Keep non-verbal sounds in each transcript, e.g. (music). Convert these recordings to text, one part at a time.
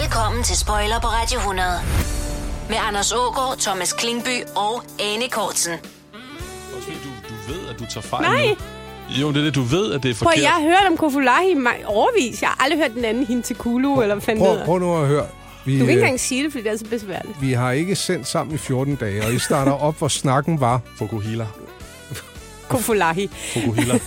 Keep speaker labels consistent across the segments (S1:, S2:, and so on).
S1: Velkommen til Spoiler på Radio 100. Med Anders Ågaard, Thomas Klingby og Anne Kortsen.
S2: Også fordi du, du ved, at du tager fejl
S3: Nej.
S2: Nu. Jo, det er det, du ved, at det er
S3: Prøv,
S2: forkert.
S3: jeg har hørt om Kofulahi i ma- overvis. Jeg har aldrig hørt den anden hende til Kulu, eller hvad fanden det
S4: Prøv,
S3: hedder.
S4: prøv nu at høre. Vi,
S3: Du kan
S4: øh,
S3: ikke engang sige det, fordi det er så besværligt.
S4: vi har ikke sendt sammen i 14 dage, og I starter op, hvor snakken var.
S2: Fukuhila.
S3: Kofulahi. (laughs)
S2: Fukuhila.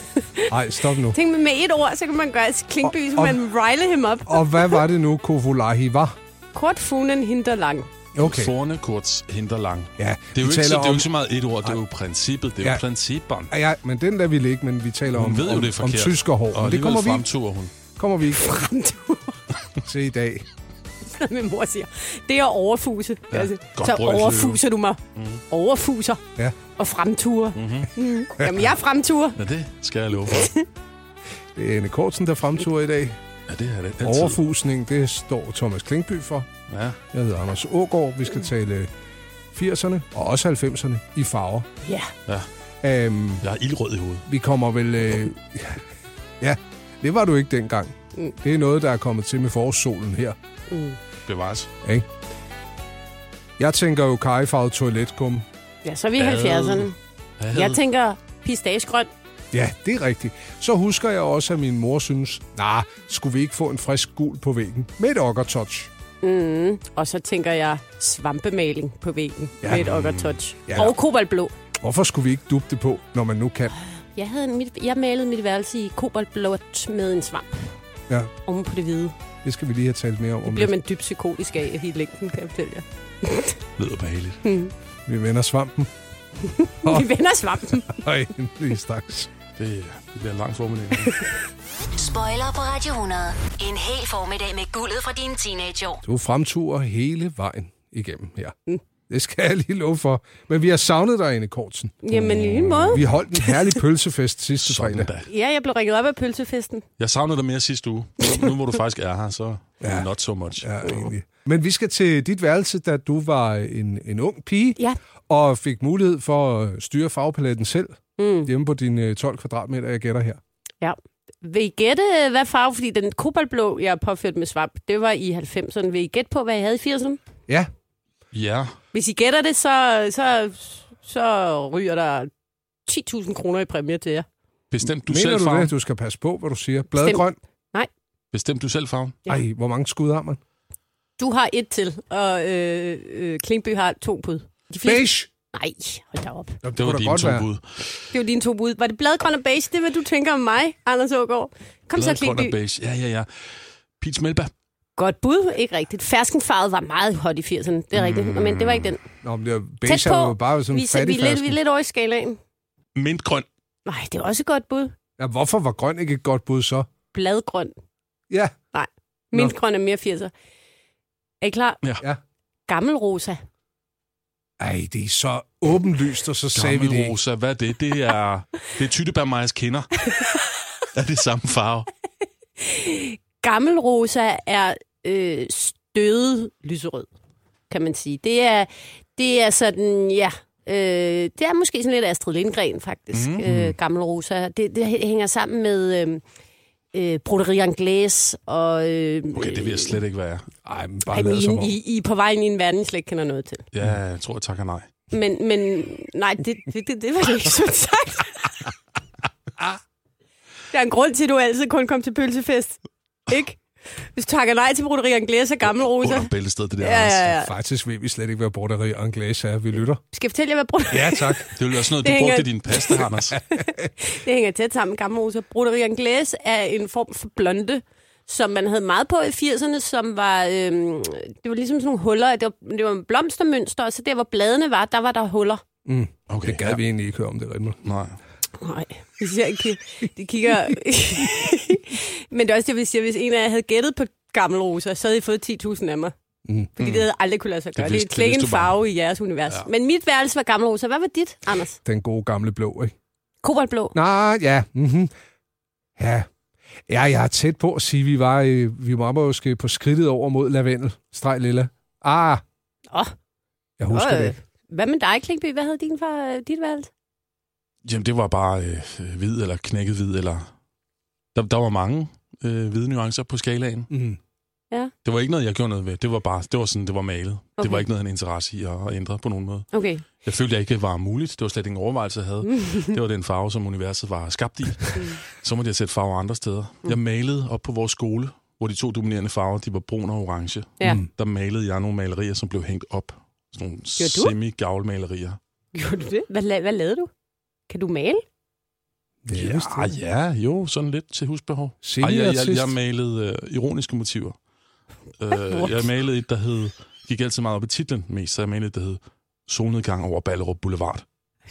S4: Nej, stop nu.
S3: Tænk, men med et ord, så kan man gøre til Klingby, så
S4: Og-
S3: man rile ham op.
S4: Og hvad var det nu, Kofolahi var?
S3: Kort funen hinder lang.
S4: Okay.
S2: Forne kurz hinterlang.
S4: Ja,
S2: Det er, jo
S4: vi
S2: ikke, så,
S4: taler
S2: det er jo
S4: om...
S2: ikke så meget et ord, det er jo princippet. Det er jo
S4: Ja.
S2: principperne.
S4: Ah, Ja, men den der vi ligge, men vi taler
S2: Hun
S4: om,
S2: ved jo,
S4: om,
S2: det er
S4: om
S2: forkert.
S4: tyskerhår.
S2: Og
S4: Men det kommer vi, ikke-
S2: fremturer hun.
S4: kommer vi ikke til i dag.
S3: Som (laughs) min mor siger. Det er at overfuse. Ja, altså,
S2: godt
S3: så
S2: brød, Fløve.
S3: overfuser du mig.
S4: Mhm.
S3: Mm. Overfuser
S4: Ja.
S3: og fremture. Mm-hmm.
S4: Mhm.
S3: Mm. Jamen, jeg fremturer.
S2: Ja, det skal jeg love for.
S4: Det er Anne Kortsen, der fremturer i dag.
S2: Ja, det er det altid.
S4: Overfusning, det står Thomas Klingby for.
S2: Ja.
S4: Jeg hedder Anders Ågaard. Vi skal tale 80'erne og også 90'erne i farver.
S3: Ja.
S4: Um,
S2: Jeg har ildrød i hovedet.
S4: vi kommer vel... Øh, ja, det var du ikke dengang. Det er noget, der er kommet til med forårssolen her.
S2: Bevares.
S4: Ikke? Jeg tænker jo kajefarvet toiletkum.
S3: ja, så er vi i
S2: Ad.
S3: 70'erne. Jeg tænker pistagegrøn.
S4: Ja, det er rigtigt. Så husker jeg også, at min mor synes, nej, nah, skulle vi ikke få en frisk gul på væggen med et okkertouch?
S3: Mm. Og så tænker jeg svampemaling på væggen ja.
S4: Ja. Mm.
S3: med et okkertouch.
S4: Ja.
S3: Ja. Og kobaltblå.
S4: Hvorfor skulle vi ikke dubbe det på, når man nu kan?
S3: Jeg, havde mit, jeg malede mit værelse i kobaltblåt med en svamp
S4: Ja,
S3: oven på det hvide.
S4: det skal vi lige have talt mere om. om
S3: Bliver
S4: lidt.
S3: man dybt psykotisk af i længden, kan jeg fortælle jer.
S2: Lyder behageligt.
S3: Hmm.
S4: Vi vender svampen. (laughs)
S3: Vi vender svampen.
S4: Hej, lige straks.
S2: Det, øh, det bliver en lang
S4: (laughs)
S2: formiddag.
S1: Spoiler på Radio 100. En hel formiddag med guldet fra dine teenageår.
S4: Du fremturer hele vejen igennem her. Det skal jeg lige love for. Men vi har savnet dig, Anne Kortsen.
S3: Jamen, i lige måde.
S4: Vi holdt en
S3: (laughs)
S4: herlig pølsefest sidste
S2: Sådan
S4: fredag.
S2: da.
S3: Ja, jeg blev ringet op af pølsefesten.
S2: Jeg savnede dig mere sidste uge. Nu,
S4: (laughs)
S2: nu hvor du faktisk er her, så ja. not so much.
S4: Ja, egentlig. Men vi skal til dit værelse, da du var en, en ung pige,
S3: Ja.
S4: og fik mulighed for at styre farvepaletten selv, mm. hjemme på dine øh, 12 kvadratmeter, jeg gætter her.
S3: Ja. Vil I gætte, øh, hvad farve? Fordi den kobaltblå, jeg påførte med svamp, det var i 90'erne. Vil I gætte på, hvad jeg havde i 80'erne?
S4: Ja,
S2: Ja,
S3: Hvis I gætter det, så, så, så ryger der 10.000 kroner i præmie til jer.
S2: bestemt du
S4: mener
S2: selv
S4: du
S2: farven.
S4: det? Du skal passe på, hvad du siger. Bladgrøn.
S2: Bestemt du selv farven.
S3: Ja.
S4: Ej, hvor mange skud har man?
S3: Du har et til, og øh, øh, Klingby har to bud. De
S4: Beige!
S3: Nej, hold da op.
S4: Nå, det,
S2: Det var
S4: kunne da
S2: dine
S4: godt
S2: to
S4: være.
S2: bud.
S3: Det var dine to bud. Var det bladgrøn og beige? Det er, hvad du tænker om mig, Anders Ågaard. Kom så,
S2: Bladgrøn og
S3: Klingby.
S2: beige. Ja, ja, ja. Pete Melba.
S3: Godt bud, ikke rigtigt. Ferskenfarvet var meget hot i 80'erne, det er rigtigt. Men det var ikke den.
S4: Nå, men det var
S3: Tæt
S4: beige
S3: på.
S4: er jo bare sådan
S3: Vi,
S4: en
S3: er- vi, er
S4: fattig
S3: lidt, vi er
S4: fersken.
S3: lidt over i skalaen.
S2: Mintgrøn.
S3: Nej, det er også et godt bud.
S4: Ja, hvorfor var grøn ikke et godt bud så?
S3: Bladgrøn.
S4: Ja,
S3: Mintgrøn er mere 80'er. Er I klar?
S2: Ja.
S4: Ja.
S3: Gammel rosa.
S4: ej, det er så åbenlyst, og så sagde vi det
S2: Gammel
S4: ikke.
S2: rosa. Hvad er det? Det er, det er Tyttebærmejers
S3: (laughs)
S2: kinder. er det samme farve?
S3: Gammel rosa er øh, støde lyserød, kan man sige. Det er, det er sådan, ja... Øh, det er måske sådan lidt Astrid Lindgren, faktisk. Mm. Øh, gammel rosa. Det, det hænger sammen med øh, øh, Broderie Anglaise og... Øh,
S2: Okay, det vil jeg slet ikke være.
S4: Ej, men
S3: Ej,
S4: bare lad som
S3: men
S4: om.
S3: I, I, I er på vej ind i en verden, I slet ikke kender noget til.
S2: Ja, jeg tror, jeg takker nej.
S3: Men, men nej, det, det, det, det var det ikke så sagt. Der er en grund til, at du altid kun kom til pølsefest. Ikke? Hvis du takker nej til broderi Anglæs og gammel rosa.
S2: Under bæltested, det der.
S3: Ja,
S2: Anders.
S3: ja, ja.
S4: Altså, Faktisk ved vi slet ikke, hvad borderi og anglæs er. Vi lytter.
S3: Skal jeg fortælle jer, hvad broderi...
S4: Ja, tak.
S2: Det ville også noget,
S3: Det
S2: du
S3: hænger-
S2: brugte i din pasta, Anders.
S3: Det hænger tæt sammen, gammel rosa. Broderi Anglæs er en form for blonde, som man havde meget på i 80'erne, som var... Øhm, det var ligesom sådan nogle huller. Det var, det var blomstermønster, og så der, hvor bladene var, der var der huller.
S2: Okay,
S4: Det gad vi egentlig ikke høre om det rigtigt.
S2: Nej.
S3: Nej, hvis jeg ikke de kigger... Men det er også det, hvis, jeg, hvis en af jer havde gættet på gammel rosa, så havde I fået 10.000 af mig. Mm. Fordi det havde aldrig kunne lade sig gøre. Det,
S2: vidste- det
S3: det er slet ikke en
S2: vidste du bare.
S3: farve i jeres univers. Ja. Men mit værelse var gammel rosa. Hvad var dit, Anders?
S4: Den gode gamle blå, ikke?
S3: Kobaltblå.
S4: Nej, ja. Mm-hmm. Ja. Ja, jeg er tæt på at sige, at vi var, øh, vi var måske på skridtet over mod lavendel. Streg lilla. Ah,
S3: Nå,
S4: jeg husker
S3: øh,
S4: det.
S3: Hvad med dig, Klingby? Hvad havde din far, øh, dit værelse?
S2: Jamen, det var bare øh, øh, hvid eller knækket hvid, eller... Der, der var mange øh, hvide nuancer på skalaen.
S4: Mm.
S3: Ja.
S2: Det var ikke noget, jeg gjorde noget ved. Det var bare, det var sådan, det var malet. Okay.
S3: Okay.
S2: Det var ikke noget, han havde interesse i at at ændre på nogen måde.
S3: Okay.
S2: Jeg følte, jeg ikke var muligt. Det var slet ikke en overvejelse,
S3: (laughs)
S2: jeg havde. det var den farve, som universet var skabt i.
S3: Mm.
S2: Så måtte jeg sætte farver andre steder. Jeg malede op på vores skole, hvor de to dominerende farver, de var brun og orange.
S3: Ja.
S4: Mm.
S2: Der malede jeg nogle malerier, som blev hængt op. Sådan nogle
S3: Gjorde du?
S2: semi-gavlmalerier.
S3: (laughs) Gjorde du det? Hvad, la- hvad lavede du? Kan du male?
S4: Ja,
S2: Ja,
S4: vist det.
S2: ja, jo, sådan lidt til husbehov. Ej, jeg, jeg,
S4: Seniorartist.
S2: jeg malede øh, ironiske motiver.
S3: (laughs)
S2: Øh, jeg malede et, der hed, gik altid meget op i titlen mest, så jeg malede et, der hed Solnedgang over Ballerup Boulevard.
S3: (laughs)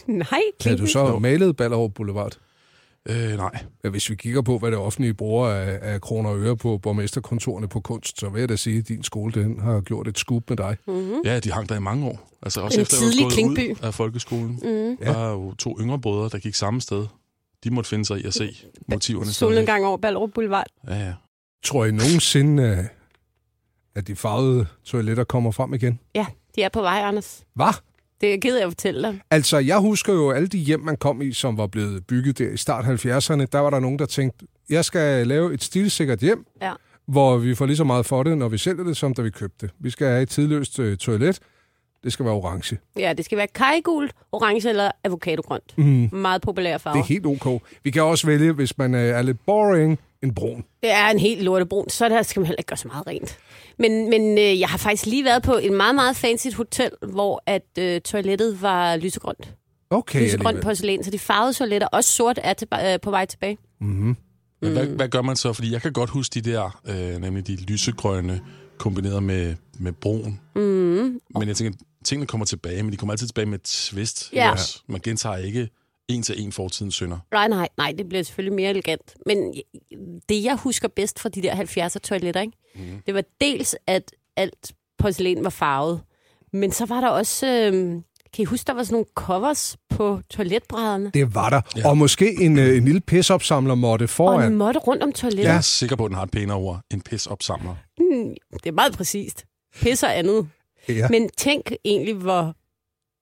S3: Nej,
S4: Havde du
S3: Clemens.
S4: så malet Ballerup Boulevard?
S2: Øh, nej,
S4: Ja, hvis vi kigger på, hvad det offentlige bruger af, af kroner og øre på borgmesterkontorene på kunst, så vil jeg da sige, at din skole den har gjort et skub med dig.
S3: Mhm.
S2: ja, de hang der i mange år. Altså også
S3: En
S2: efter jeg var
S3: tidlig
S2: gået
S3: Klingby.
S2: ud af folkeskolen.
S3: Mm.
S2: Der var jo to yngre brødre, der gik samme sted. De måtte finde sig i at se motiverne. stadigvæk.
S3: Solnedgang over Ballerup Boulevard.
S2: Ja, ja.
S4: Tror I nogensinde, øh, at de farvede toiletter kommer frem igen?
S3: Ja, de er på vej, Anders.
S4: Hvad?
S3: Det er jeg ked af at fortælle dig.
S4: Altså, jeg husker jo alle de hjem, man kom i, som var blevet bygget der i start 70'erne. Der var der nogen, der tænkte, jeg skal lave et stilsikkert hjem,
S3: Ja.
S4: hvor vi får lige så meget for det, når vi sælger det, som da vi købte det. Vi skal have et tidløst øh, toilet. Det skal være orange.
S3: Ja, det skal være kajgult, orange eller avocadogrønt.
S4: Mm.
S3: Meget populære farver.
S4: Det er helt ok. Vi kan også vælge, hvis man øh, er lidt boring, en brun.
S3: Det er en helt lortebrun, så der skal man heller ikke gøre så meget rent. Men, men øh, jeg har faktisk lige været på et meget, meget fancy hotel, hvor at øh, toilettet var lysegrønt.
S4: Okay,
S3: Lysegrønt
S4: alligevel.
S3: porcelæn, så de farvede toiletter, også sort, er til, øh, på vej tilbage.
S2: Men hvad,
S3: Mm.
S2: hvad gør man så? Fordi jeg kan godt huske de der, øh, nemlig de lysegrønne, kombineret med, med brun. Mm. Men jeg tænker, tingene kommer tilbage, men de kommer altid tilbage med et twist.
S3: Ja.
S2: Også. Man gentager ikke en til en fortidens synder.
S3: Nej, nej, nej, det bliver selvfølgelig mere elegant. Men det, jeg husker bedst fra de der 70'er toiletter, ikke? Mm. det var dels, at alt porcelæn var farvet. Men så var der også... Øh, kan I huske, der var sådan nogle covers på toiletbrædderne?
S4: Det var der. Ja. Og måske en, øh, en lille pisopsamler måtte
S3: Og en
S4: foran.
S3: måtte rundt om toilettet.
S2: Ja. Jeg er sikker på, at den har et pænere ord end pisopsamler.
S3: Mm, det er meget præcist. Pis og andet.
S4: Ja.
S3: Men tænk egentlig, hvor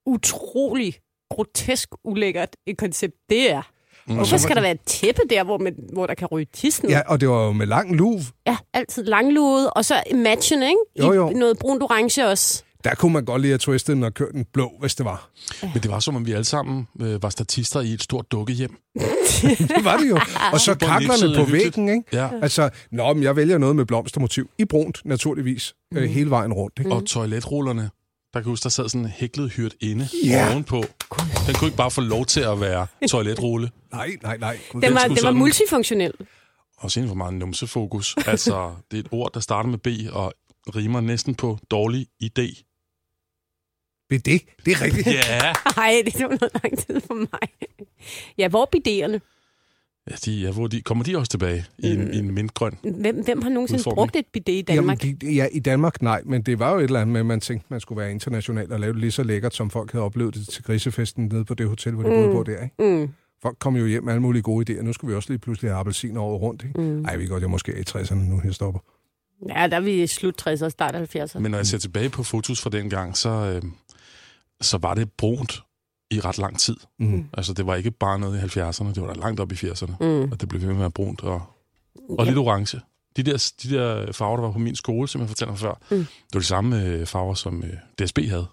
S3: utrolig grotesk ulækkert et koncept det er.
S2: Mm.
S3: Hvorfor skal der være et tæppe der, hvor, man, hvor der kan ryge tissen?
S4: ja, og det var jo med lang luv.
S3: ja altid langluet, og så matchen, ikke? I
S4: Jo, jo.
S3: noget brunt orange
S4: (laughs)
S3: også.
S4: Der kunne man godt lide at twiste den og køre den blå, hvis det var. (laughs)
S2: Men det var som om, vi alle sammen øh, var statister i et stort dukkehjem.
S4: Det var det (laughs) jo. Og så
S2: Hvor nipsede
S4: kaklerne på
S2: hyggeligt.
S4: væggen, ikke?
S2: Ja.
S4: Altså, nå, men jeg vælger noget med blomstermotiv. I brunt, naturligvis. Øh, hele vejen rundt, ikke?
S2: Og toiletrullerne. Der kan jeg huske, der sad sådan en hæklet hyrt inde
S4: Ja.
S2: ovenpå. Den kunne ikke bare få lov til at være toiletrulle. (laughs)
S4: Nej, nej, nej. Gud,
S3: Den
S4: det-
S3: var,
S2: skulle
S3: den var
S2: sådan.
S3: multifunktionel.
S2: Og senere for meget numsefokus. Altså, det er et ord, der starter med B og rimer næsten på dårlig idé.
S4: Det er det. Det er rigtigt.
S2: Ja!
S3: Ej, det tog noget lang tid for mig. Ja, hvor er bidéerne?
S2: ja, de, ja hvor de, kommer de også tilbage i en, i en mintgrøn?
S3: Hvem, hvem har nogensinde
S2: Udformning.
S3: brugt et bidé i
S4: Jamen,
S3: Danmark?
S4: de, ja, i Danmark nej, men det var jo et eller andet med, at man tænkte, man skulle være international og lave det lige så lækkert, som folk havde oplevet det til grisefesten nede på det hotel, hvor de mm. boede på der. Ikke?
S3: Mm.
S4: Folk kom jo hjem med alle mulige gode idéer. Nu skulle vi også lige pludselig have appelsiner over rundt. Ikke? Mm. Ej, vi godt, jeg er måske er i 60'erne nu, jeg stopper.
S3: Ja, der er vi i slut 60'erne og start 70'erne.
S2: Men når jeg ser tilbage på fotos fra dengang, så, øh, så var det brunt i ret lang tid.
S4: Mm.
S2: Altså, det var ikke bare noget i 70'erne, det var da langt op i 80'erne.
S3: Mm.
S2: Og det blev ved med at være brunt og, og lidt orange. De der, de der farver, der var på min skole, som jeg fortalte om før,
S3: Mm.
S2: mm. det var de samme øh, farver, som øh, DSB havde.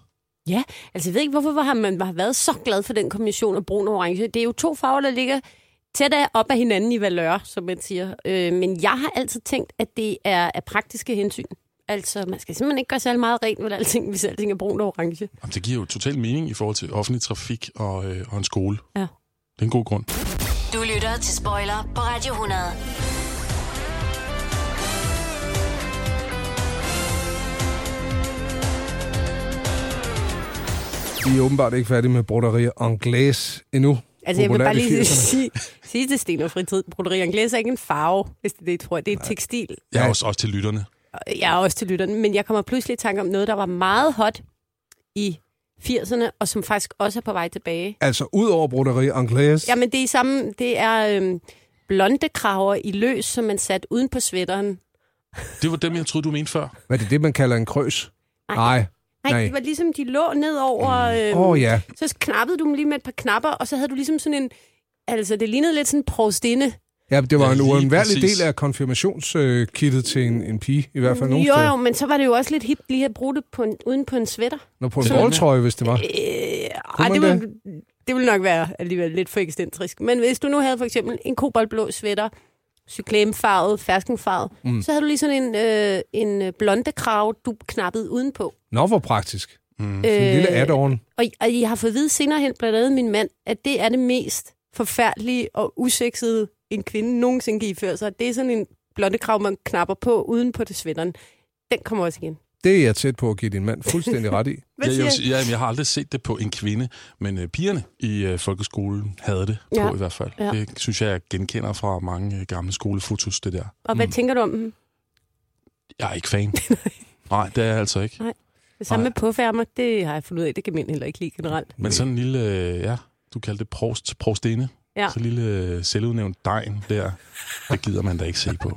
S3: Ja, altså jeg ved ikke, hvorfor har man har været så glad for den kombination af brun og orange. Det er jo to farver, der ligger tæt af op af hinanden i valør, som man siger. Øh, men jeg har altid tænkt, at det er af praktiske hensyn. Altså, man skal simpelthen ikke gøre særlig meget rent med alting, hvis alting er brun og orange.
S2: Jamen, det giver jo total mening i forhold til offentlig trafik og, øh, og en skole.
S3: Ja.
S2: Det er en god grund.
S1: Du lytter til Spoiler på Radio 100.
S4: Vi er åbenbart ikke færdige med broderier anglais endnu.
S3: Altså, jeg vil
S4: Populært
S3: bare
S4: i
S3: lige
S4: 80'erne.
S3: sige, sige til Sten og Fritid, broderi anglæs er ikke en farve, hvis det er det, jeg tror. Det er et tekstil.
S2: Jeg er
S4: Ja.
S2: også, også til lytterne.
S3: Jeg er også til lytterne, men jeg kommer pludselig i tanke om noget, der var meget hot i 80'erne, og som faktisk også er på vej tilbage.
S4: Altså, ud over broderier anglais, Jamen.
S3: Jamen, det er, samme, det er øhm, blonde kraver i løs, som man satte uden på sweateren.
S2: Det var dem, jeg troede, du mente før.
S4: hvad er det, det, man kalder en krøs?
S3: Nej.
S4: Nej.
S3: Nej,
S4: Nej.
S3: det var ligesom, de lå ned over... Øhm,
S4: Åh oh, ja,
S3: Så knappede du dem lige med et par knapper, og så havde du ligesom sådan en... Altså, det lignede lidt sådan en provstinde,
S4: Ja, det var
S2: Ja,
S4: en
S2: lige
S4: uundværlig
S2: præcis.
S4: del af konfirmationskittet til en, en pige, i hvert fald nogle
S3: Jo, jo,
S4: steder.
S3: men så var det jo også lidt hip lige at bruge det på en, uden på en sweater.
S4: Nå, på en
S2: Sådan.
S4: boldtrøje, hvis det var.
S3: Øh, ej,
S4: man
S3: det, ville, det ville nok være alligevel lidt for ekscentrisk. Men hvis du nu havde for eksempel en koboldblå sweater, cyklæmefarvet, ferskenfarvet, mm. så havde du lige sådan en, øh, en øh, blonde krav, du knappede udenpå.
S4: Nå, hvor praktisk.
S2: Mm.
S4: Sådan en lille add-on.
S3: Øh, og, og jeg har fået at vide senere hen, blandt andet min mand, at det er det mest forfærdelige og usexede, en kvinde nogensinde kan iføre sig. Det er sådan en blonde krav, man knapper på uden på det sweateren. Den kommer også igen.
S4: Det er jeg tæt på at give din mand fuldstændig ret i.
S3: Hvad
S2: jeg,
S3: siger
S2: jeg, jeg, jeg har aldrig set det på en kvinde, men øh, pigerne i øh, folkeskolen havde det ja.
S3: Ja.
S2: på i hvert fald.
S3: Ja.
S2: Ja. Det synes jeg, jeg genkender fra mange øh, gamle skolefotos, det der.
S3: Og hvad mm. tænker du om dem?
S2: Jeg er ikke
S3: (laughs)
S2: fan. Nej, det er jeg altså ikke.
S3: Det samme
S2: Nej.
S3: med påfærmer, det har jeg fundet ud af, det kan mænd heller ikke lide generelt.
S2: Men sådan en lille, øh, ja, du kaldte det prost, prostinde.
S3: Ja.
S2: Ja. Så en lille øh, selvudnævnt dejen der, det gider man da ikke se på.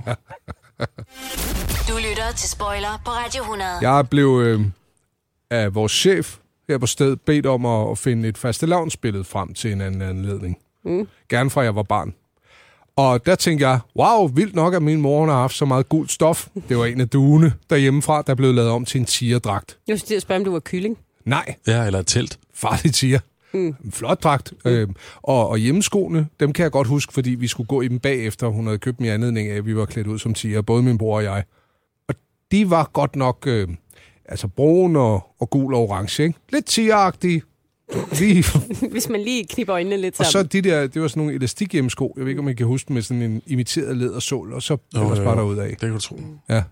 S1: Du lytter til Spoiler på Radio 100.
S4: Jeg blev øh, af vores chef her på stedet bedt om at, at finde et fastelavnsbillede frem til en anden anledning. Mm. Gerne fra jeg var barn. Og der tænkte jeg, wow, vildt nok, at min mor hun har haft så meget gult stof. Det var en af duene derhjemmefra, der blev lavet om til en tigerdragt.
S3: Jeg synes, det er at spørge, om du var kylling. (laughs)
S4: Nej,
S2: Ja, eller et telt.
S4: farlig tiger. Mm. En flot dragt. Mm. Øhm, og, og hjemmeskoene, dem kan jeg godt huske, fordi vi skulle gå i dem bagefter. Hun havde købt dem i anledning af, at vi var klædt ud som tiger, både min bror og jeg. Og de var godt nok øh, altså brun og, og gul og orange. Ikke? Lidt tigeragtige. (laughs) Lige.
S3: Hvis man lige knipper øjnene lidt
S4: og
S3: sammen.
S4: så de der, det var sådan nogle elastikhjemmesko. Jeg ved ikke, om I kan huske dem med sådan en imiteret lædersål, og så
S2: Jo,
S4: oh, ellers
S2: jo,
S4: bare
S2: jo.
S4: derudad.
S2: Det kan du tro.
S4: Ja. Det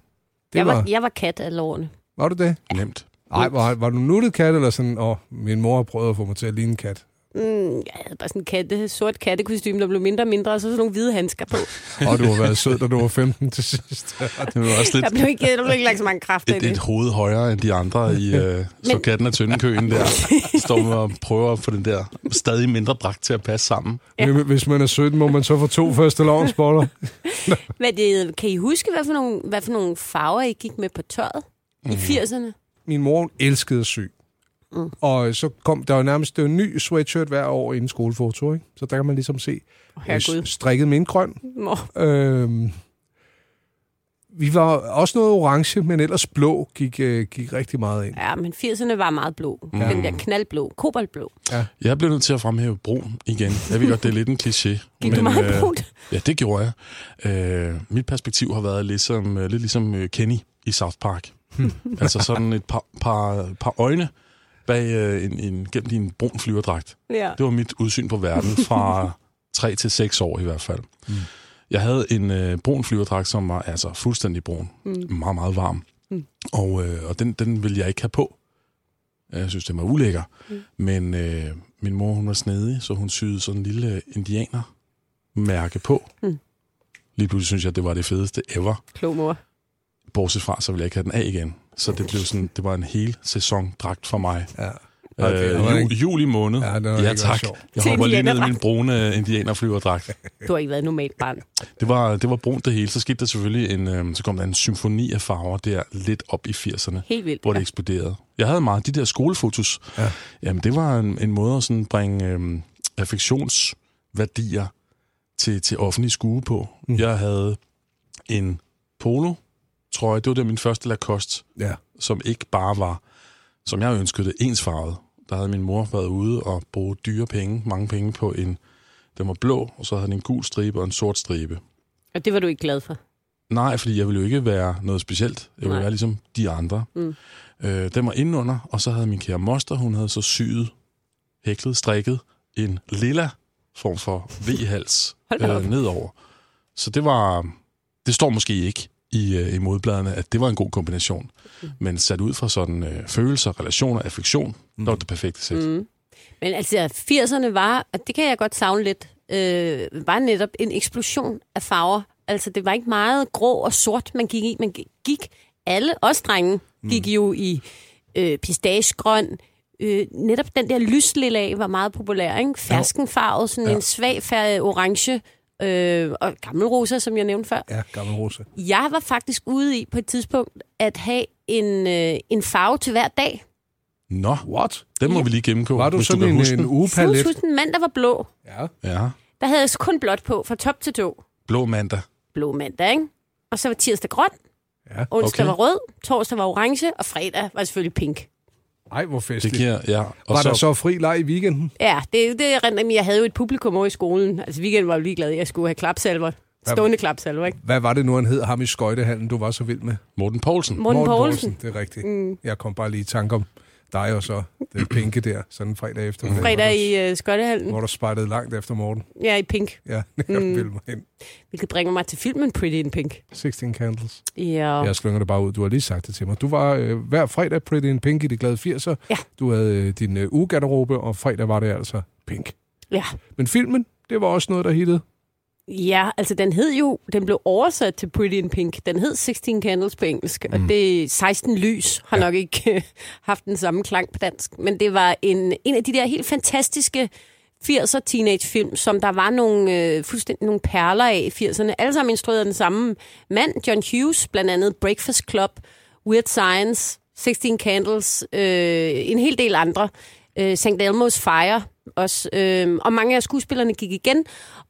S3: jeg,
S4: var,
S3: var,
S4: var,
S3: jeg var kat af lårene.
S4: var du det?
S2: Nemt.
S4: Nej, var, var du nuttet kat, eller sådan? Åh, min mor har prøvet at få mig til at ligne en kat.
S3: Mm, jeg havde bare sådan en katte, sort kattekostyme, der blev mindre og mindre, og så sådan nogle hvide handsker på.
S4: Og du har været sød, da du var 15 til sidst.
S2: Det var også
S3: Der
S2: lidt
S3: blev ikke, der blev ikke lagt så mange kræfter i
S2: et,
S3: det.
S2: et hoved højere end de andre i øh, så katten af tøndekøen der. Står med og prøver at få den der stadig mindre dragt til at passe sammen.
S4: Ja. Hvis man er 17, må man så få to første lovensboller.
S3: Hvad det, kan I huske, hvad for, nogle, hvad for nogle farver I gik med på tøjet mm. i
S2: Mhm.
S3: 80'erne?
S4: Min mor hun elskede at sy. Mm. Og så kom der jo nærmest det var en ny sweatshirt hver år inden skolefoto, ikke? Så der kan man ligesom se
S3: Åh,
S4: øh,
S3: Herregud.
S4: strikket mindgrøn.
S3: Nå,
S4: Øhm, vi var også noget orange, men ellers blå gik, øh, gik rigtig meget ind.
S3: Ja, men 80'erne var meget blå. Mm.
S2: Mhm.
S3: Den der knaldblå, koboldblå.
S2: Jeg blev nødt til at fremhæve brun igen. Jeg ved godt, det er lidt en kliché.
S3: Gik du meget
S2: øh,
S3: brunt?
S2: Ja, det gjorde jeg. Øh, mit perspektiv har været ligesom, øh, lidt ligesom øh, Kenny i South Park. (laughs) altså sådan et par, par, par øjne bag øh, en, en, gennem din brun flyverdragt.
S3: Ja.
S2: Det var mit udsyn på verden fra 3 til 6 år i hvert fald. Mm. Jeg havde en øh, brun flyverdragt, som var altså fuldstændig brun. Mm. Meget, meget varm. Mm. Og, øh, og den, den ville jeg ikke have på. Jeg synes, den var ulækker. Mm. Men øh, min mor, hun var snedig, så hun syede sådan en lille indianermærke på.
S3: Mm.
S2: Mm. Lige pludselig synes jeg, det var det fedeste ever.
S3: Klog mor.
S2: Bortset fra, så ville jeg ikke have den af igen. Så det blev sådan, det var en hel sæson dragt for mig.
S4: Ja. Okay,
S2: Okay,
S4: det var
S2: øh, ju-
S4: ikke-
S2: juli måned.
S4: Ja, det var
S2: ja
S4: ikke ret
S2: tak.
S4: sjovt.
S2: Jeg
S3: Til
S2: hopper lige ned i min
S3: indianerdragt.
S2: brune indianerflyverdragt.
S3: Du har ikke været et normalt barn.
S2: Det var, det var brunt det hele. Så skete der selvfølgelig en, øh, så kom der en symfoni af farver der lidt op i 80'erne,
S3: Helt vildt.
S2: hvor det eksploderede. Jeg havde meget de der skolefotos.
S4: Ja.
S2: Jamen, det var en, en måde at sådan bringe øh, affektionsværdier til, til offentlig skue på.
S4: Mm.
S2: Mm. Jeg havde en polo, tror jeg. Det var der min første Lacoste
S4: Ja.
S2: som ikke bare var, som jeg ønskede det, ensfarvet. Der havde min mor været ude og bruge dyre penge, mange penge på en, den var blå, og så havde den en gul stribe og en sort stribe.
S3: Og det var du ikke glad for.
S2: Nej, fordi jeg ville jo ikke være noget specielt. Jeg ville
S3: Nej.
S2: Nej. være ligesom de andre.
S3: Mm.
S2: Øh, den var indenunder, og så havde min kære moster, hun havde så syet, hæklet, strikket en lilla form for V-hals
S3: Hold da op.
S2: øh, nedover. Så det var, det står måske ikke i, øh, i modbladene, at det var en god kombination. Mm. Men sat ud fra sådan øh, følelser, relationer, affektion, mm. der var det perfekte sæt. Mm.
S3: Men altså, 80'erne var, og det kan jeg godt savne lidt, øh, var netop en eksplosion af farver. Altså, det var ikke meget grå og sort, man gik i. Man gik, alle os drenge gik jo i øh, pistagegrøn. Øh, netop den der lyslille af var meget populær, ikke? Ferskenfarvet, sådan ja. en svag fær- orange øh, og gammelrosa, som jeg nævnte før.
S4: ja, gammel rose.
S3: Jeg var faktisk ude i på et tidspunkt at have en, øh, en farve til hver dag.
S2: Nå, What? den må vi lige gennemgå,
S4: Var du
S2: hvis du
S4: sådan
S2: kan
S4: en,
S2: huske
S4: en
S2: den.
S4: ugepalet?
S3: Husk, husk, den mand, der var blå.
S4: Ja.
S2: Ja.
S3: Der havde jeg kun blåt på, fra top til tå.
S2: Blå mandag.
S3: blå mandag, ikke? Og så var tirsdag grøn,
S4: Ja.
S3: onsdag
S2: Okay.
S3: var rød, torsdag var orange, og fredag var selvfølgelig pink.
S4: Ej, hvor
S2: Det
S4: festligt.
S2: giver, ja.
S4: Og var så... der så fri leg i weekenden?
S3: Ja, det, det er rent, men jeg havde jo et publikum over i skolen. Altså weekenden var jo ligeglad, jeg skulle have klapsalver. Stående klapsalver, ikke?
S4: Hvad var det nu, han hed ham i skøjtehallen, du var så vild med?
S2: Morten Poulsen.
S3: Morten, Poulsen.
S4: Det er rigtigt. Mm. Jeg kom bare lige i tanke om dig og så det pinke der, sådan en fredag efter.
S3: Fredag i øh,
S4: Hvor
S3: Skottehallen.
S4: du, du spejtede langt efter Morten.
S3: Ja, i pink.
S4: Ja, (laughs) jeg mm. vil mig hen.
S3: Hvilket bringer mig til filmen Pretty in Pink.
S4: 16 Candles.
S3: Ja.
S4: Jeg slynger det bare ud. Du har lige sagt det til mig. Du var øh, hver fredag Pretty in Pink i de glade 80'er.
S3: Ja.
S4: Du havde øh, din øh, ugegarderobe, og fredag var det altså pink.
S3: ja.
S4: Men filmen, det var også noget, der hittede.
S3: Ja, altså den hed jo, den blev oversat til Pretty in Pink. Den hed 16 Candles på engelsk, mm. og det 16 lys har ja. nok ikke (laughs) øh, haft den samme klang på dansk. Men det var en, en af de der helt fantastiske 80'er teenagefilm, som der var nogle, øh, fuldstændig nogle perler af i 80'erne. Alle sammen instrueret af den samme mand, John Hughes, blandt andet Breakfast Club, Weird Science, 16 Candles, øh, en hel del andre. Øh, St. Elmo's Fire også. Øh, og mange af skuespillerne gik igen.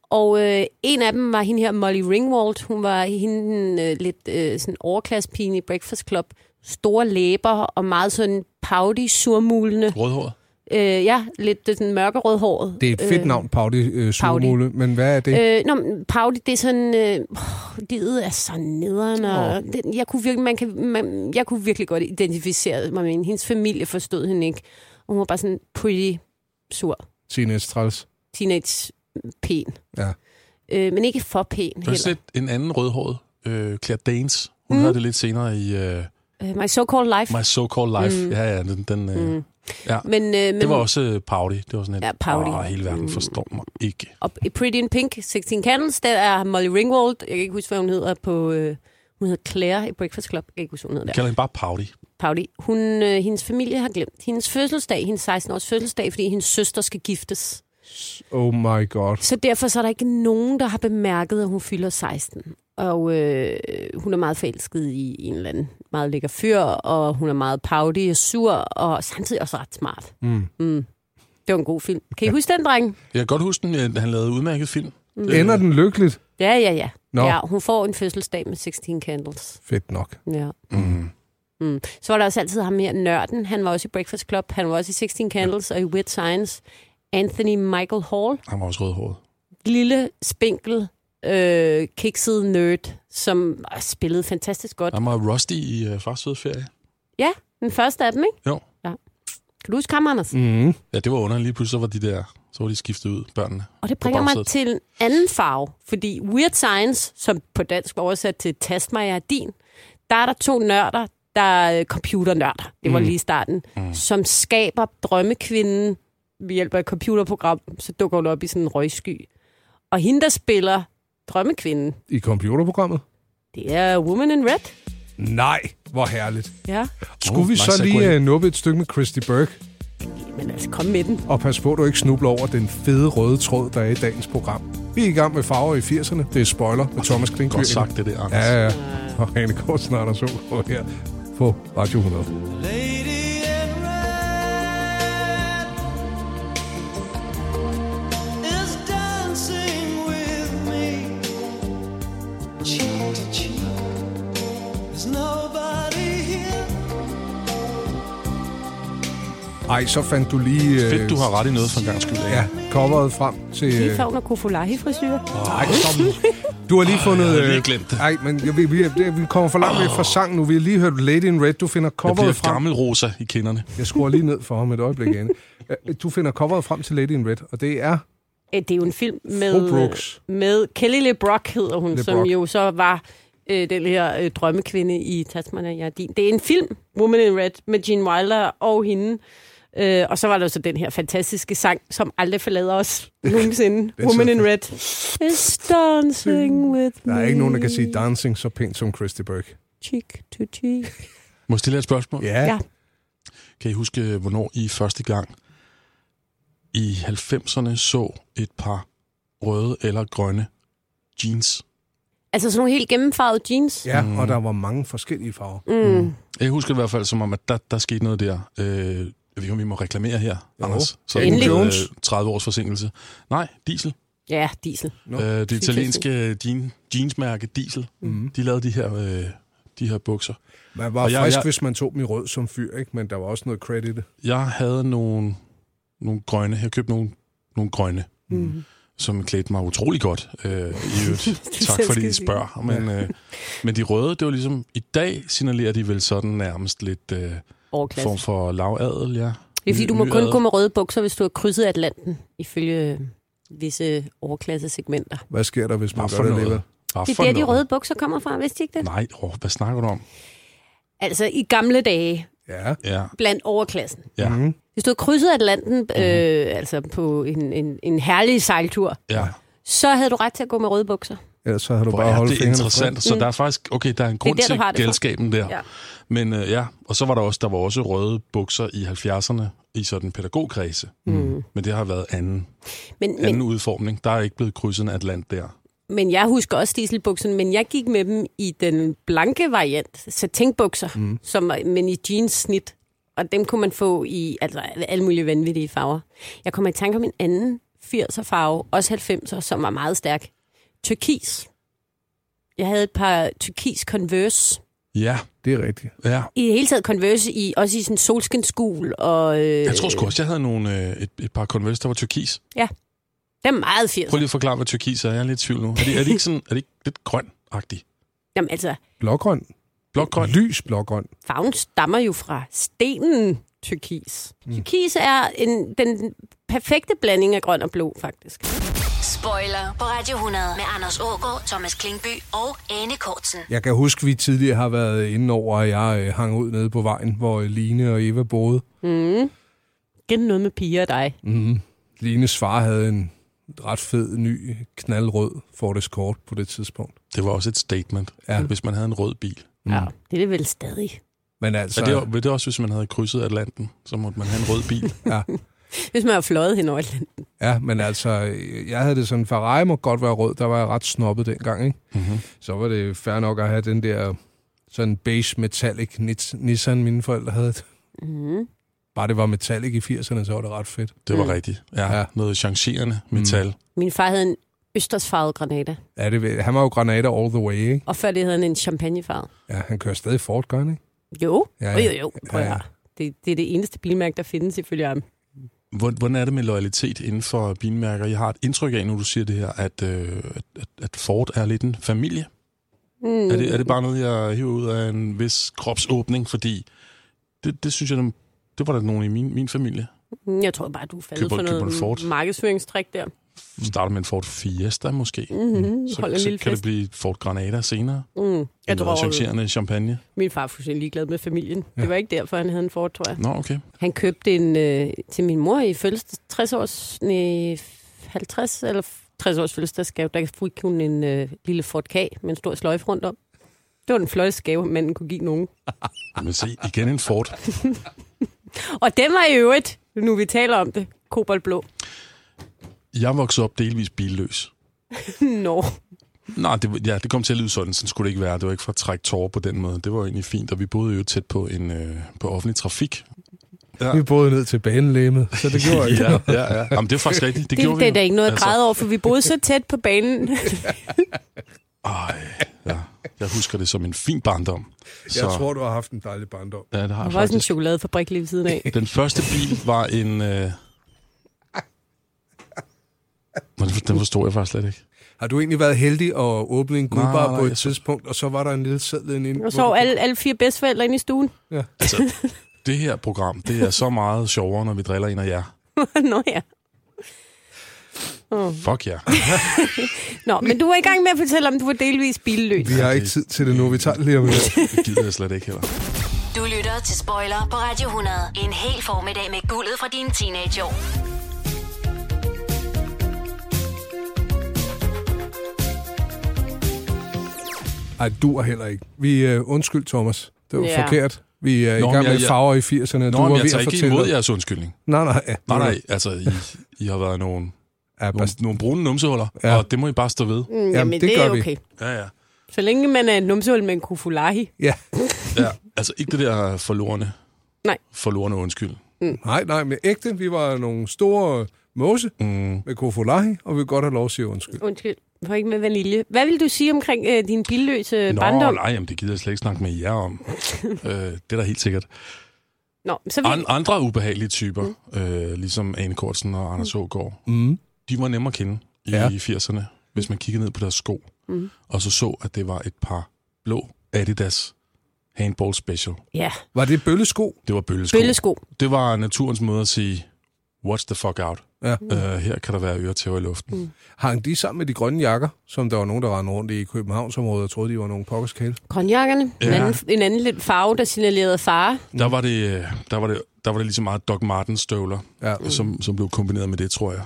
S3: Og øh, en af dem var hende her, Molly Ringwald. Hun var hende øh, lidt øh, sådan overklassepigen i Breakfast Club. Store læber og meget sådan pouty, surmulende.
S2: Rødhåret.
S3: Øh, ja, lidt øh, sådan mørkerødhåret.
S4: Det er et fedt øh, navn, Pauli øh, Surmule, men hvad er det? Øh,
S3: Øh, nå, men Pauli, det er sådan... Øh, åh, livet er så nederen, og det, jeg, kunne virkelig, man kan, man, jeg kunne virkelig godt identificere mig med hende. Hendes familie forstod hende ikke. Og hun var bare sådan pretty sur,
S4: Tine Estrals.
S3: teenage pæn.
S4: Ja.
S3: Øh, men ikke for pæn
S2: Du har set
S3: heller.
S2: en anden rødhåret, øh, Claire Danes. Hun mm. havde det lidt senere i øh,
S3: Øh, my so-called life.
S2: My So-Called Life. Mm. Ja, ja, den, den, øh, mm. ja. Men,
S3: Men, øh, men
S2: det var også øh, Pauli. Mm. Det var sådan et,
S3: Ja, Paudi.
S2: Åh, hele verden forstår mig ikke.
S3: Og i Pretty in Pink, 16 Candles, der er Molly Ringwald. Jeg kan ikke huske, hvad hun hedder på... Øh, hun hedder Claire i Breakfast Club. Jeg kan ikke huske, hvad hun
S2: Jeg
S3: hedder der.
S2: kalder hende bare Pauli.
S3: Pauli. Hun, øh, hendes familie har glemt hendes fødselsdag, hendes 16-års fødselsdag, fordi hendes søster skal giftes.
S4: Oh my god.
S3: Så derfor så er der ikke nogen, der har bemærket, at hun fylder 16. Og øh, hun er meget forelsket i en eller anden meget lækker fyr, og hun er meget pouty og sur, og samtidig også ret smart. Mm. Mm. Det var en god film. Kan I huske den, dreng?
S2: Jeg kan godt huske, den, øh, han lavede udmærket film. Mm.
S4: Ender den lykkeligt?
S3: Ja, ja, ja.
S4: Nå.
S3: Øh. ja. Hun får en fødselsdag med 16 candles.
S4: Fedt nok.
S3: Ja. Mm. Mm. Så var der også altid ham her, Nørden. Han var også i Breakfast Club. Han var også i 16 Candles og i Weird Science. Anthony Michael Hall.
S2: Han var også rødhåret.
S3: lille, spinkel, øh, kikset nerd, som øh, spillede fantastisk godt.
S2: Han var Rusty i øh, Fars Fede Ferie.
S3: Ja, den første af dem, ikke?
S2: Jo.
S3: Kan du huske ham, Anders? Mm.
S2: Ja, det var underligt. Lige pludselig så var de der, så var de skiftet ud, børnene.
S3: Og det
S2: på
S3: bringer mig
S2: bagsædet.
S3: til en anden farve, fordi Weird Science, som på dansk var oversat til Tast mig, jeg er din, der er der to nørder, der er øh, computernørder, det var lige i starten, mm. som skaber drømmekvinden ved hjælp af et computerprogram, så dukker hun op i sådan en røgsky. Og hende, der spiller drømmekvinden,
S4: I computerprogrammet?
S3: det er Woman in Red.
S4: Nej, hvor herligt.
S3: Ja.
S4: Skulle
S2: Oh,
S4: vi
S2: nice
S4: så lige
S2: segue.
S4: uh, nuppe et stykke med Christy Burke?
S3: Men altså, kom med den.
S4: Og pas på, at du ikke snubler over den fede røde tråd, der er i dagens program. Vi er i gang med farver i 80'erne. Det er spoiler med Thomas Klingby.
S2: Godt sagt, det der, Anders.
S4: Ja, ja. Og Rene Korsen og Anders Aagaard her på Radio 100.
S5: Lady in red is dancing with me, cheek to cheek. There's nobody here.
S4: Ej, så fandt du lige... øh,
S2: Fedt, du har ret i noget for en gang skyld.
S4: Ja, coveret frem til...
S3: Lige
S4: øh,
S3: før hun har kofolahi-frisyr.
S4: Ej, som... Du har lige fundet...
S2: jeg havde lige
S4: øh,
S2: glemt det.
S4: Ej, men jeg, vi, vi, vi kommer for langt væk fra sangen nu. Vi har lige hørt Lady in Red. Du finder
S2: Jeg bliver
S4: coveret frem.
S2: gammel rosa i kinderne.
S4: Jeg skruer lige ned for ham et
S2: (laughs)
S4: øjeblik, Anne. Øh, Du finder coveret frem til Lady in Red, og det er...
S3: Øh, Det er jo en film
S4: Fru
S3: med, øh,
S4: Brooks.
S3: med Kelly LeBrock, hedder hun,
S4: LeBrock.
S3: LeBrock. som jo så var øh, den her øh, drømmekvinde i Tasmania Jeg er din. Det er en film, Woman in Red, med Gene Wilder og hende. Øh, og så var der jo så den her fantastiske sang, som aldrig forlader os nogensinde.
S4: (laughs) Den
S3: Woman in
S4: sidder-
S3: Red is dancing with me.
S4: Hmm. Der er ikke nogen, der kan sige dancing så pænt som Christy Burke.
S3: Cheek to cheek.
S2: Må jeg stille jer et spørgsmål?
S4: Ja.
S3: Ja.
S2: Kan I huske, øh, hvornår I første gang i 90'erne så et par røde eller grønne jeans?
S3: Altså sådan nogle helt gennemfarvede jeans.
S4: Ja,
S2: Mm.
S4: og der var mange forskellige farver.
S3: Mm.
S2: Jeg husker i hvert fald som om, at der, der skete noget der. Øh, jeg ved ikke, om vi må reklamere her,
S4: Jo.
S2: Anders. Så
S4: Endelig.
S2: øh,
S4: Jones.
S2: 30 års forsinkelse. Nej, diesel.
S3: Ja, diesel.
S4: Nå.
S2: Øh, det italienske jean, jeansmærke Diesel, mm. de lavede de her, øh, de her bukser.
S4: Man var
S2: Og jeg-
S4: frisk,
S2: jeg-
S4: hvis man tog dem i rød som fyr, ikke? men der var også noget credit i det.
S2: Jeg havde nogle, nogle grønne. Jeg købte nogle, nogle grønne,
S3: Mm.
S2: som klædte mig utrolig godt øh, i
S3: (laughs)
S2: øvrigt. tak
S3: selv
S2: fordi
S3: skal
S2: I
S3: sige.
S2: spørger. Men, øh, men de røde, det var ligesom... I dag signalerer de vel sådan nærmest lidt øh,
S3: Overklasse.
S2: form for lavadel, ja.
S3: Det er fordi, du må
S2: Ny-
S3: kun
S2: nyadel.
S3: gå med røde bukser, hvis du har krydset Atlanten, ifølge øh, visse overklassesegmenter.
S4: Hvad sker der, hvis man
S2: Hvad
S4: gør
S2: for
S4: det
S2: noget?
S4: alligevel?
S2: Hvad
S3: Det er
S2: for
S3: der, de
S2: noget?
S3: røde bukser kommer fra, vidste I ikke det?
S2: Nej, åh, hvad snakker du om?
S3: Altså, i gamle dage,
S4: Ja.
S2: Ja,
S3: blandt overklassen.
S2: ja,
S4: Mhm.
S2: mm.
S3: Hvis du har krydset Atlanten,
S2: Mhm.
S3: øh, altså på en, en, en herlig sejltur,
S2: ja.
S3: så havde du ret til at gå med røde bukser.
S4: Ellers så havde du
S2: Hvor
S4: bare
S2: er
S4: holdt
S2: det
S4: fingrene Mm. fri.
S2: interessant. Så der er faktisk, okay, der er en grund
S3: der, du
S2: til
S3: har det fra.
S2: gældskaben der.
S3: Ja.
S2: Men øh, ja, og så var der også, der var også røde bukser i 70'erne i sådan pædagogkredse. Mm. Men det har været anden,
S3: Men,
S2: anden
S3: men,
S2: udformning. Der er ikke blevet krydset en atlant der.
S3: men jeg husker også dieselbukserne, men jeg gik med dem i den blanke variant, satinbukser, mm. som, var- men i jeanssnit. Og dem kunne man få i altså, alle mulige vanvittige farver. Jeg kommer i tanke om en anden 80'er farve, også 90'er, som var meget stærk. Tyrkis. Jeg havde et par tyrkis Converse.
S2: Ja,
S4: Det er rigtigt.
S2: ja.
S3: I det hele taget Converse, i, også i sådan solskinsgul. Og, øh,
S2: Jeg tror sgu også, jeg havde nogle, øh, et, et par Converse, der var turkis.
S3: Det er meget 80'er.
S2: Prøv lige at forklare, hvad turkis er. Jeg er lidt i tvivl nu. Er det, er det ikke sådan, er det ikke lidt grøn-agtigt?
S3: Jamen altså,
S4: Blågrøn.
S2: Blågrøn?
S4: Lys blågrøn.
S3: farven stammer jo fra stenen tyrkis. Mm. Tyrkis er en, den perfekte blanding af grøn og blå, faktisk.
S1: Spoiler på Radio 100 med Anders Ågaard, Thomas Klingby og Anne Kortsen.
S4: Jeg kan huske, vi tidligere har været inde over, at jeg øh, hang ud nede på vejen, hvor øh, Line og Eva boede.
S3: Igen noget med piger og dig.
S4: Mm. Lines far havde en ret fed, ny, knaldrød Ford Escort på det tidspunkt.
S2: Det var også et statement,
S4: Ja.
S2: ja. hvis man havde en rød bil.
S3: Mm. Ja, det er det vel stadig.
S4: Men altså,
S2: Er det, vil det også, hvis man havde krydset Atlanten, så måtte man have en rød bil?
S3: Hvis man har fløjet hen over Atlanten.
S4: ja, men altså, øh, jeg havde det sådan, Ferrari må godt være rød, der var jeg ret snobbet dengang, ikke?
S2: mm-hmm.
S4: Så var det fair nok at have den der sådan beige metallic Nits- Nissan, mine forældre havde.
S3: Mm.
S4: Bare det var metallic i 80'erne, så var det ret fedt.
S2: Det var
S3: Mm.
S2: rigtigt. Ja,
S4: Ja.
S2: ja. Noget changerende metal. Mm.
S3: Min far havde en østersfarvet granata,
S4: Ja, det, ved- han var jo granater all the way, ikke?
S3: og før det havde han en champagnefarvet.
S4: Ja, han kører stadig Ford, gør han, ikke?
S3: Jo, ja,
S4: Ja, ja.
S3: jo, jo, jo. Prøv
S4: Ja,
S3: ja,
S4: ja.
S3: ja. Det, det er det eneste bilmærke, der findes ifølge ham.
S2: Hvor- Hvordan er det med loyalitet inden for bilmærker? Jeg har et indtryk af, når du siger det her, at, øh, at- at, at Ford er lidt en familie. Mm. Er, det, er det bare noget, jeg hiver ud af en vis kropsåbning? Fordi det, det synes jeg, dem- det var der nogen i min, min familie.
S3: Mm, Jeg tror bare, du er faldet
S2: Køber-
S3: for
S2: køber en Ford?
S3: noget markedsføringstrik der.
S2: Starter med en Ford Fiesta måske.
S3: Mm-hmm.
S2: Mm. Så,
S3: Hold en
S2: så
S3: lille
S2: kan det
S3: fest.
S2: blive Ford Granada senere.
S3: Mm. Jeg
S2: Jeg noget
S3: tror,
S2: changerende champagne.
S3: min far er fuldstændig ligeglad med familien. Det var ikke derfor, han havde en Ford, tror jeg.
S2: Nå, okay.
S3: Han købte en øh, til min mor i fødselsdags 60 års, nej, 50 eller 60 års fødselsdagsgave. Der fik hun en øh, lille Ford K med en stor sløjfe rundt om. Det var den flotteste gave, manden kunne give nogen.
S2: Men se, igen en Ford.
S3: Og den var i øvrigt, nu vi taler om det, koboldblå. (laughs)
S2: Jeg voksede op delvis billøs.
S3: Nå,
S2: Nej, det, ja, det kom til at lyde sådan. Sådan skulle det ikke være. Det var ikke for at trække tårer på den måde. Det var egentlig fint, og vi boede jo tæt på, en, øh, på offentlig trafik.
S4: Vi boede ned til banelæmet, så det
S2: (laughs)
S4: gjorde ikke.
S2: ja, ja, ja. Jamen, det er faktisk rigtigt. Det,
S3: det,
S2: gjorde
S3: det,
S2: vi Altså.
S3: det er da
S2: jo.
S3: ikke noget at græde over, for vi boede så tæt på
S2: (laughs)
S3: banen.
S2: Ej, ja. Jeg husker det som en fin barndom. Så,
S4: Jeg tror, du har haft en dejlig barndom.
S2: ja, det har
S3: Der
S2: jeg
S3: var også en
S2: faktisk.
S3: chokoladefabrik lige ved siden
S2: (laughs)
S3: af.
S2: Den første bil var en... Øh... Nå, den for- Den forstod jeg faktisk slet ikke.
S4: Har du egentlig været heldig at åbne en
S2: Nej,
S4: guldbar
S2: nej,
S4: på et
S2: jeg så-
S4: tidspunkt, og så var der en lille sædel inde?
S3: Og så var alle, alle fire bedsteforældre inde i stuen. (laughs)
S2: Altså, det her program, det er så meget sjovere, når vi driller en af jer.
S3: Nå ja.
S2: Fuck jer.
S3: Nå, men du var i gang med at fortælle om, du var delvis billøs.
S4: Vi har ikke tid til det nu, vi tager det lige om
S3: (laughs)
S4: lidt.
S2: Det gider jeg slet ikke heller.
S1: Du lytter til Spoiler på Radio 100. En hel formiddag med guldet fra dine teenageår.
S4: Ej, du er heller ikke. Vi øh, undskyld, Thomas. Det var
S3: Ja.
S4: forkert. Vi er
S2: Nå,
S4: i
S2: men
S4: gang med
S2: jeg-
S4: farver i 80'erne. og du
S2: Nå,
S4: var
S2: men
S4: ved
S2: jeg
S4: at
S2: tager ikke
S4: fortælle.
S2: imod jeres undskyldning.
S4: Nej, nej.
S2: Nej, nej, Mm. altså, I, I har været nogle,
S4: Ja,
S2: nogle,
S4: bast-
S2: nogle brune numsehuller,
S4: Ja.
S2: ja. og det må I bare stå ved.
S3: Mm,
S4: Jamen,
S3: Jamen,
S4: det
S3: det, det er
S4: gør vi.
S3: okay.
S2: Ja, ja.
S3: Så længe man er et numsehul med en kufulahi.
S4: ja.
S2: ja altså, ikke det der forlorene.
S3: Nej.
S2: Forlorene undskyld.
S4: Nej, nej, men ægte. Vi var nogle store Måse
S2: Mm.
S4: med kofolahi, og vil godt have lov at sige undskyld.
S3: Undskyld, jeg får ikke med vanilje. Hvad vil du sige omkring øh, din billøse
S2: Nå,
S3: barndom?
S2: nej, jamen, det gider jeg slet ikke snakke med jer om. øh, det er da helt sikkert.
S3: Nå, så vil...
S2: An- andre ubehagelige typer, mm. øh, ligesom Ane Kortsen og Anders Ågaard,
S4: Mm.
S2: de var nemme at kende i
S4: Ja.
S2: ja. 80'erne, hvis man kiggede ned på deres sko, mm. og så så, at det var et par blå Adidas handball special.
S3: Ja,
S4: Var det bøllesko?
S2: Det var bøllesko.
S3: bøllesko.
S2: Det var naturens måde at sige, what's the fuck out?
S4: Ja.
S2: Mm. Øh, her kan der være øretæver i luften. Mm.
S4: Hang de sammen med de grønne jakker, som der var nogen, der rendte rundt i Københavnsområdet og troede, de var nogle pokkerskæle?
S3: Grønjakkerne. Ja. En,
S2: Ja.
S3: anden, en anden lidt farve, der signalerede fare.
S2: Der, var det, øh, der, var det, der var det ligesom meget Doc Martens støvler,
S4: Ja.
S2: mm. som, som blev kombineret med det, tror jeg.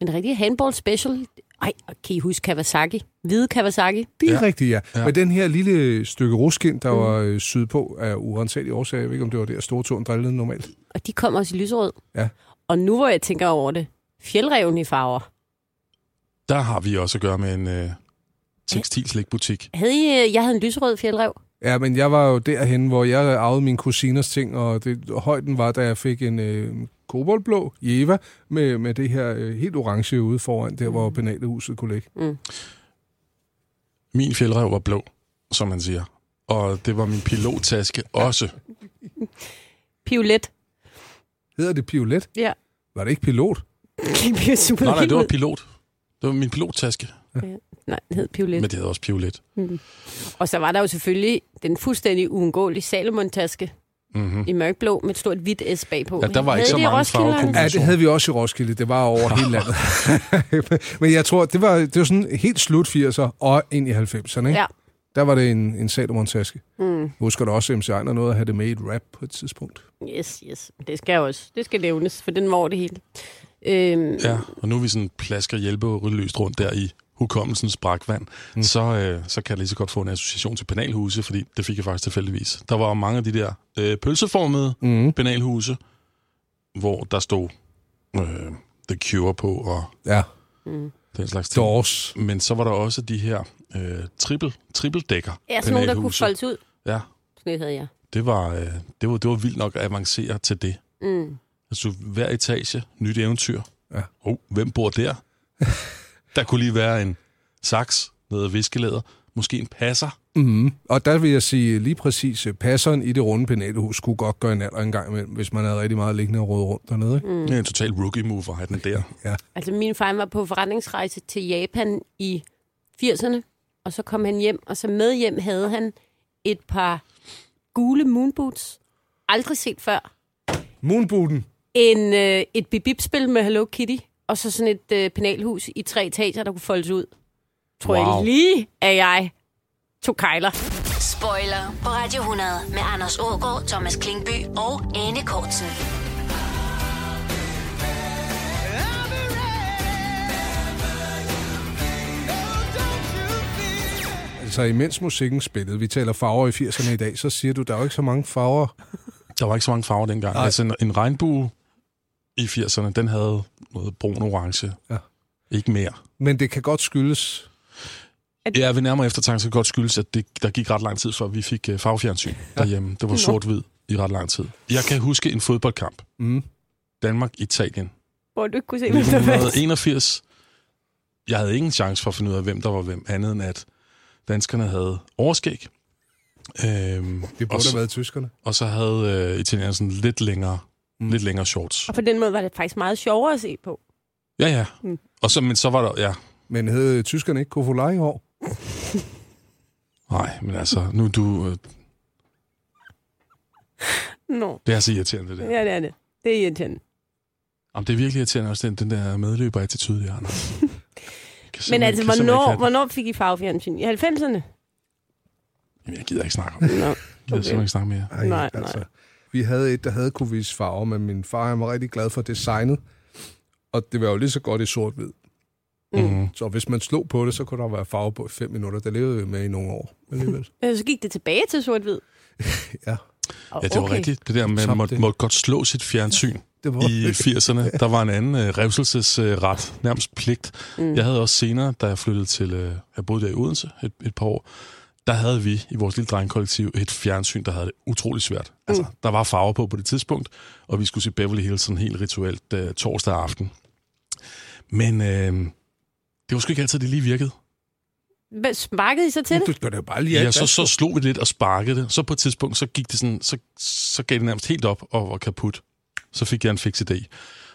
S3: Men rigtig handball special. Ej, og kan I huske Kawasaki? Hvide Kawasaki?
S4: Det er
S2: Ja.
S4: ja. rigtigt, ja. ja.
S2: Ja.
S4: Men den her lille stykke ruskind, der mm. var øh, sydpå af urensagelige årsager, jeg ved ikke, om det var der, Stortåen drillede normalt.
S3: Og de kom også i lyserød.
S4: Ja.
S3: Og nu hvor jeg tænker over det, fjeldreven i farver.
S2: Der har vi også at gøre med en øh, tekstilslikbutik.
S3: Havde I, øh, jeg havde en lyserød fjeldrev.
S4: Ja, men jeg var jo derhen, hvor jeg arvede mine kusiners ting, og det, højden var, da jeg fik en øh, koboldblå Jeva med, med det her øh, helt orange ude foran, der hvor penalhuset kunne ligge.
S2: Min fjeldrev var blå, som man siger. Og det var min pilottaske også.
S3: Piolet.
S4: Hedder det Piolet?
S3: Ja.
S4: Var det ikke pilot?
S3: (laughs) Det bliver super
S2: Nej, nej, det var
S3: vildt.
S2: pilot. Det var min pilottaske,
S3: Nej, den hed Piolet.
S2: men det havde også piolet.
S3: Og så var der jo selvfølgelig den fuldstændig uundgåelige Salomon-taske
S2: Mm-hmm.
S3: i mørkblå med et stort hvidt S bagpå.
S2: Ja, der var
S3: Havde
S2: ikke så
S3: det i
S2: mange
S3: Roskilde?
S2: farvekombinationer.
S4: Ja, det havde vi også i Roskilde. Det var over hele landet. (laughs) men jeg tror, det var, det var sådan helt slut 80'er og ind i 90'erne. Ikke?
S3: Ja.
S4: Der var det en, en Salomon-taske. Mm. Jeg husker da også, at MC Ejner nåede at have det med i et rap på et tidspunkt.
S3: Yes, yes. Det skal også. Det skal nævnes, for den var over det hele. Øhm, ja.
S2: Ja, og nu er vi sådan plasker hjælperødløst rundt der i hukommelsens brakvand, mm. så, øh, så kan jeg lige så godt få en association til penalhuse, fordi det fik jeg faktisk tilfældigvis. Der var mange af de der øh, pølseformede
S4: Mm.
S2: penalhuse, hvor der stod øh, The Cure på og
S4: Ja,
S2: den slags ting.
S4: Doors.
S2: Men så var der også de her øh, triple, trippeldækker
S3: ja, sådan nogen, der kunne
S2: penalhuse.
S3: foldes ud.
S2: Ja,
S3: Sådan noget havde jeg.
S2: det var, øh, det, var, det var vildt nok at avancere til det.
S3: Mm.
S2: Altså hver etage, nyt eventyr.
S4: Ja.
S2: Oh, hvem bor
S4: (laughs)
S2: der? der kunne lige være en saks, noget viskelæder, måske en passer.
S4: Mm. Og der vil jeg sige lige præcis, øh, passeren i det runde penalhus kunne godt gøre en alder en gang imellem, hvis man havde rigtig meget liggende og rode rundt dernede. Ikke?
S2: Mm. En total rookie move at have den der.
S3: Altså, min far han var på forretningsrejse til Japan i 80'erne, og så kom han hjem, og så med hjem havde han et par gule moonboots. Aldrig set før.
S4: Moonbooten.
S3: En, øh, et bibibspil med Hello Kitty, og så sådan et øh, penalhus i tre etager, der kunne foldes ud. Tror wow.
S2: Wow.
S3: jeg lige, at jeg tog kejler.
S1: Spoiler på Radio 100 med Anders Ågaard, Thomas Klingby og Anne Kortsen.
S5: Oh,
S4: Altså imens musikken spillede, vi taler farver i 80'erne i dag, så siger du, der er jo ikke så mange farver.
S2: Der var ikke så mange farver dengang.
S4: Nej.
S2: Nej. Altså en, en regnbue i 80'erne, den havde noget brun-orange.
S4: Ja.
S2: Ikke mere.
S4: Men det kan godt skyldes
S2: Ja, ved nærmere eftertanke så kan godt skyldes, at det, der gik ret lang tid, før vi fik øh, farvefjernsyn derhjemme. Det var sort-hvid i ret lang tid. Jeg kan huske en fodboldkamp.
S4: Mm.
S2: Danmark-Italien.
S3: Hvor du ikke kunne se, hvad der var.
S2: 1981. Jeg havde ingen chance for at finde ud af, hvem der var hvem, andet end at danskerne havde overskæg. Øhm,
S4: Det burde
S2: og,
S4: have
S2: så,
S4: været tyskerne.
S2: og så havde øh, italienerne sådan lidt længere, mm. lidt længere shorts.
S3: Og på den måde var det faktisk meget sjovere at se på.
S2: Ja, ja. Mm. Og så, men så var der, ja,
S4: Men hed tyskerne ikke Kofolaj i år?
S2: nej, men altså, nu er du, øh,
S3: Nå,
S2: det er så irriterende det der.
S3: ja, det er det. Det er irriterende.
S2: Jamen, det er virkelig irriterende også, den, den der medløber-attitude, jeg har. Anders. Kan
S3: (laughs) Men
S2: simpelthen-
S3: altså,
S2: kan simpelthen ikke
S3: hvornår,
S2: have den.
S3: hvornår fik I farvefjernsyn? I 90'erne?
S2: Jamen, jeg gider ikke snakke om det.
S3: Nå,
S2: Jeg gider simpelthen ikke snakke mere.
S4: Ej, altså,
S3: Nej, nej.
S4: Vi havde et, der havde kunne vise farver, men min far han var rigtig glad for designet. Og det var jo lige så godt i sort-hvid.
S2: Mm.
S4: Så hvis man slog på det, så kunne der være farve på i fem minutter. Det levede vi med i nogle år. Alligevel.
S3: Men Øh, så gik det tilbage til sort-hvid.
S4: Ja,
S2: (laughs)
S3: Og
S2: Ja, det var
S3: okay.
S2: rigtigt. Det der med, at
S4: Top
S2: man måtte,
S4: det.
S2: måtte godt slå sit fjernsyn.
S4: (laughs) det var
S2: i 80'erne. Der var en anden øh, revselsesret, øh, nærmest pligt. Mm. Jeg havde også senere, da jeg flyttede til, øh, jeg boede der i Odense et, et par år, der havde vi i vores lille drengkollektiv et fjernsyn, der havde det utrolig svært. Altså, der var farver på på det tidspunkt, og vi skulle se Beverly Hills sådan helt rituelt øh, torsdag aften. Men øh, det var sgu ikke altid, det lige virkede.
S3: Hvad, Sparkede I så til det?
S4: Du skal da bare lige
S2: Ja,
S4: have
S2: ja så,
S4: dans.
S2: så slog vi lidt og sparkede det. Så på et tidspunkt, så gik det sådan, så, så gav det nærmest helt op og var kaput. Så fik jeg en fix idé.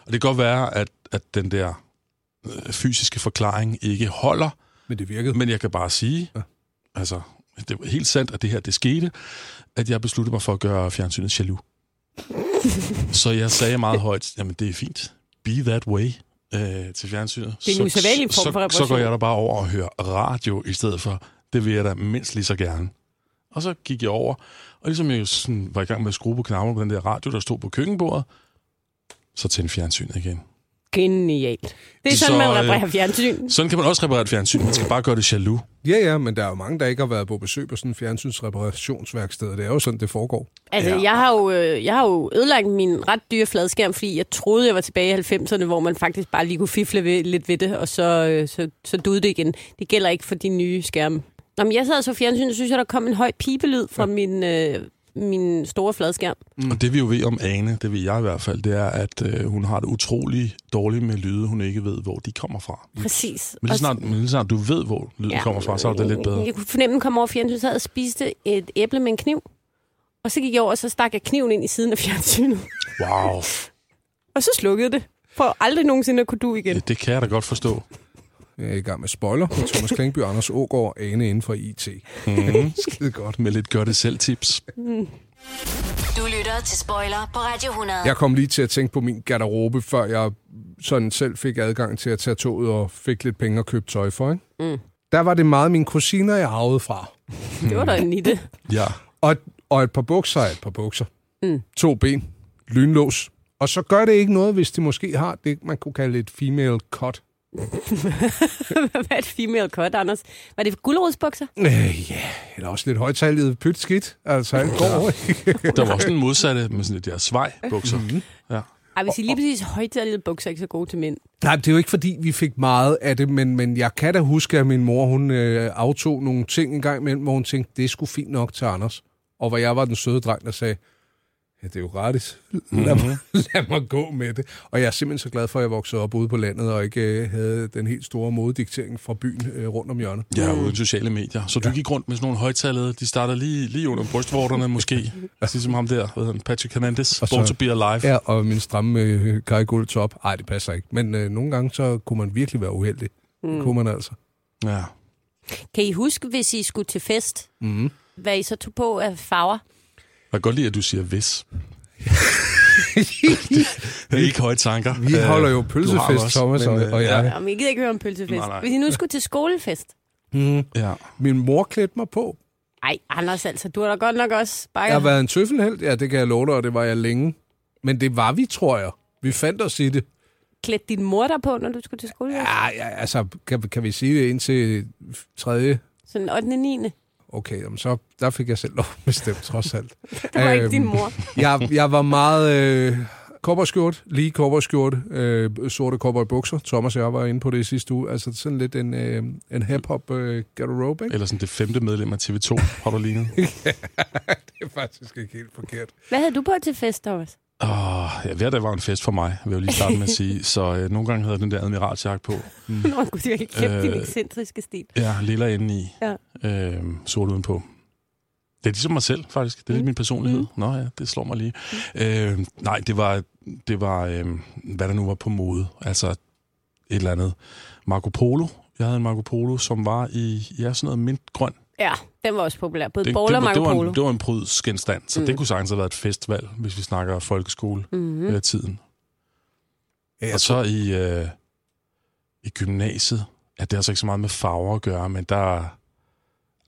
S2: Og det kan godt være, at, at den der øh, fysiske forklaring ikke holder,
S4: Men det virkede.
S2: men jeg kan bare sige,
S4: Ja.
S2: ja. altså, det var helt sandt, at det her, det skete, at jeg besluttede mig for at gøre fjernsynet jaloux. så jeg sagde meget højt, jamen det er fint, be that way øh, til fjernsynet.
S3: Det er en
S2: Så-
S3: usædvanlig form
S2: så, Så
S3: for
S2: går
S3: reparation.
S2: jeg da bare over og hører radio i stedet for, det vil jeg da mindst lige så gerne. Og så gik jeg over, og ligesom jeg jo sådan var i gang med at skrue på knapperne på den der radio, der stod på køkkenbordet, så tændte fjernsynet igen.
S3: Genialt. Det er sådan,
S2: Så,
S3: man
S2: øh,
S3: reparerer fjernsyn.
S2: Sådan kan man også reparere et fjernsyn, man skal bare gøre det jaloux.
S4: Ja, ja, men der er jo mange, der ikke har været på besøg på sådan en fjernsynsreparationsværksted, og det er jo sådan, det foregår.
S3: Altså, ja. jeg, har jo, øh, jeg har jo ødelagt min ret dyre fladskærm, fordi jeg troede, jeg var tilbage i 90'erne, hvor man faktisk bare lige kunne fifle ved, lidt ved det, og så, øh, så, så duede det igen. Det gælder ikke for de nye skærme. Nå, men jeg sad og så fjernsyn, og synes jeg, der kom en høj pipelyd fra min, øh, min store fladskærm.
S2: Mm. Og det vi jo ved om Ane, det ved jeg i hvert fald, det er, at øh, hun har det utrolig dårligt med lyde, hun ikke ved, hvor de kommer fra.
S3: Præcis.
S2: Men
S3: Og
S2: lige
S3: så-
S2: snart, men lige snart du ved, hvor lyden Mm. ja. Mm. kommer fra, så er det lidt bedre.
S3: Jeg kunne fornemme, at den kom over fjernsynet, så jeg spiste et æble med en kniv. Og så gik jeg over, og så stak jeg kniven ind i siden af fjernsynet. (laughs)
S2: Wow,
S3: Og så slukkede det. For aldrig nogensinde at kunne
S2: (laughs)
S3: du igen.
S2: det, det kan jeg da godt forstå.
S4: Jeg er i gang med spoiler med Thomas Klingby, Anders Ågaard, Ane inden for IT.
S2: Mm.
S4: (laughs) Skide godt.
S2: med lidt gør-det-selv-tips.
S1: Du lytter til Spoiler på Radio 100.
S4: Jeg kom lige til at tænke på min garderobe, før jeg sådan selv fik adgang til at tage toget og fik lidt penge og købe tøj for. Ikke? Mm. Der var det meget mine kusiner, jeg arvede fra.
S3: Det var da en i det.
S2: Ja,
S4: Og, og et par bukser er et par bukser. Mm. To ben, lynlås. Og så gør det ikke noget, hvis de måske har det, man kunne kalde et female
S3: (laughs)
S4: cut.
S3: Hvad er et female cut, Anders? Var det guldrodsbukser?
S4: Øh, ja, eller også lidt højtallet pyt skidt. Altså, alt (laughs) går ikke.
S2: der var også en modsatte med sådan lidt der svej-bukser. Mm. Ja.
S3: Ej, hvis I lige præcis højtallede bukser er ikke så gode til mænd.
S4: Nej, det er jo ikke, fordi vi fik meget af det, men, men jeg kan da huske, at min mor hun øh, aftog nogle ting en gang imellem, hvor hun tænkte, det skulle fint nok til Anders. Og hvor jeg var den søde dreng, der sagde, ja, det er jo gratis. Lad, mig,
S2: Mhm.
S4: (laughs) lad mig gå med det. Og jeg er simpelthen så glad for, at jeg voksede op ude på landet, og ikke øh, havde den helt store modediktering fra byen øh, rundt om hjørnet.
S2: Ja, uden sociale medier. Så du gik rundt med sådan nogle højtalede, de starter lige, lige under brystvorterne (laughs) måske. Altså, ligesom ham der, hvad hedder han, Patrick Hernandez,
S4: Og så-
S2: Born to be Alive.
S4: Ja, og min stramme øh, karikul top. Ej, det passer ikke. Men øh, nogle gange, så kunne man virkelig være uheldig. Mm. Det kunne man altså.
S2: ja.
S3: Kan I huske, hvis I skulle til fest, mm.
S2: Mhm.
S3: hvad I så tog på af farver?
S2: Jeg kan godt lide, at du siger
S4: (laughs)
S2: hvis. det er ikke høje tanker.
S4: Vi
S2: Øh,
S4: holder jo
S2: du har
S4: pølsefest,
S2: også,
S4: Thomas
S2: men,
S4: og-
S2: øh,
S4: og jeg.
S3: Jamen, jeg gider ikke høre om pølsefest.
S2: Nej, nej.
S3: Hvis I nu skulle til skolefest.
S2: Ja.
S4: Min mor klædte mig på
S3: Ej, Anders altså, du har da godt nok også
S4: Jeg
S3: bare...
S4: har været en tøffelhelt, ja, det kan jeg love dig, og det var jeg længe. Men det var vi, tror jeg. Vi fandt os i det.
S3: klædt din mor der på, når du skulle til skolefest. Ja.
S4: Ja, ja altså, kan, kan vi sige det indtil tredje?
S3: Sådan 8. og 9. Det
S4: Okay, jamen så der fik jeg selv lov at bestemme, trods alt.
S3: var øhm.
S4: Øhm,
S3: ikke din mor.
S4: jeg, jeg var meget øh, kobberskjort, lige kobberskjort, øh, sorte kobberbukser. Thomas og jeg var inde på det i sidste uge. Altså sådan lidt en, øh, en hip-hop øh, garderobe, ikke?
S2: Eller sådan det femte medlem af TV2, har du
S4: (laughs)
S2: lignet.
S4: Det er faktisk ikke helt forkert.
S3: Hvad havde du på til fest, Thomas?
S2: Åh, ja, hver dag var en fest for mig, vil jeg jo lige starte med at sige. Så øh, nogle gange havde jeg den der admiralsjagt på.
S3: (laughs) Nå, gud, jeg kan kæmpe din
S2: Mm. Øh.
S3: ekscentriske stil.
S2: Ja, lilla inde i.
S3: Ja.
S2: Øh, sort udenpå. Det er ligesom mig selv, faktisk. Det er lidt min personlighed. Nå ja, det slår mig lige. Øh, nej, det var, det var øh, hvad der nu var på mode. Altså et eller andet. Marco Polo. Jeg havde en Marco Polo, som var i ja, sådan noget mintgrøn.
S3: Ja, den var også populær. Både
S2: Det,
S3: bowler og
S2: det, var, det,
S3: Marco
S2: var
S3: Polo.
S2: en, det var en prydsgenstand, så mm. det kunne sagtens have været et festvalg, hvis vi snakker
S3: Mhm.
S2: folkeskole-tiden. Mm. Øh, tiden.
S4: Ja, jeg
S2: Og så i, øh, i gymnasiet, ja, det har så ikke så meget med farver at gøre, men der...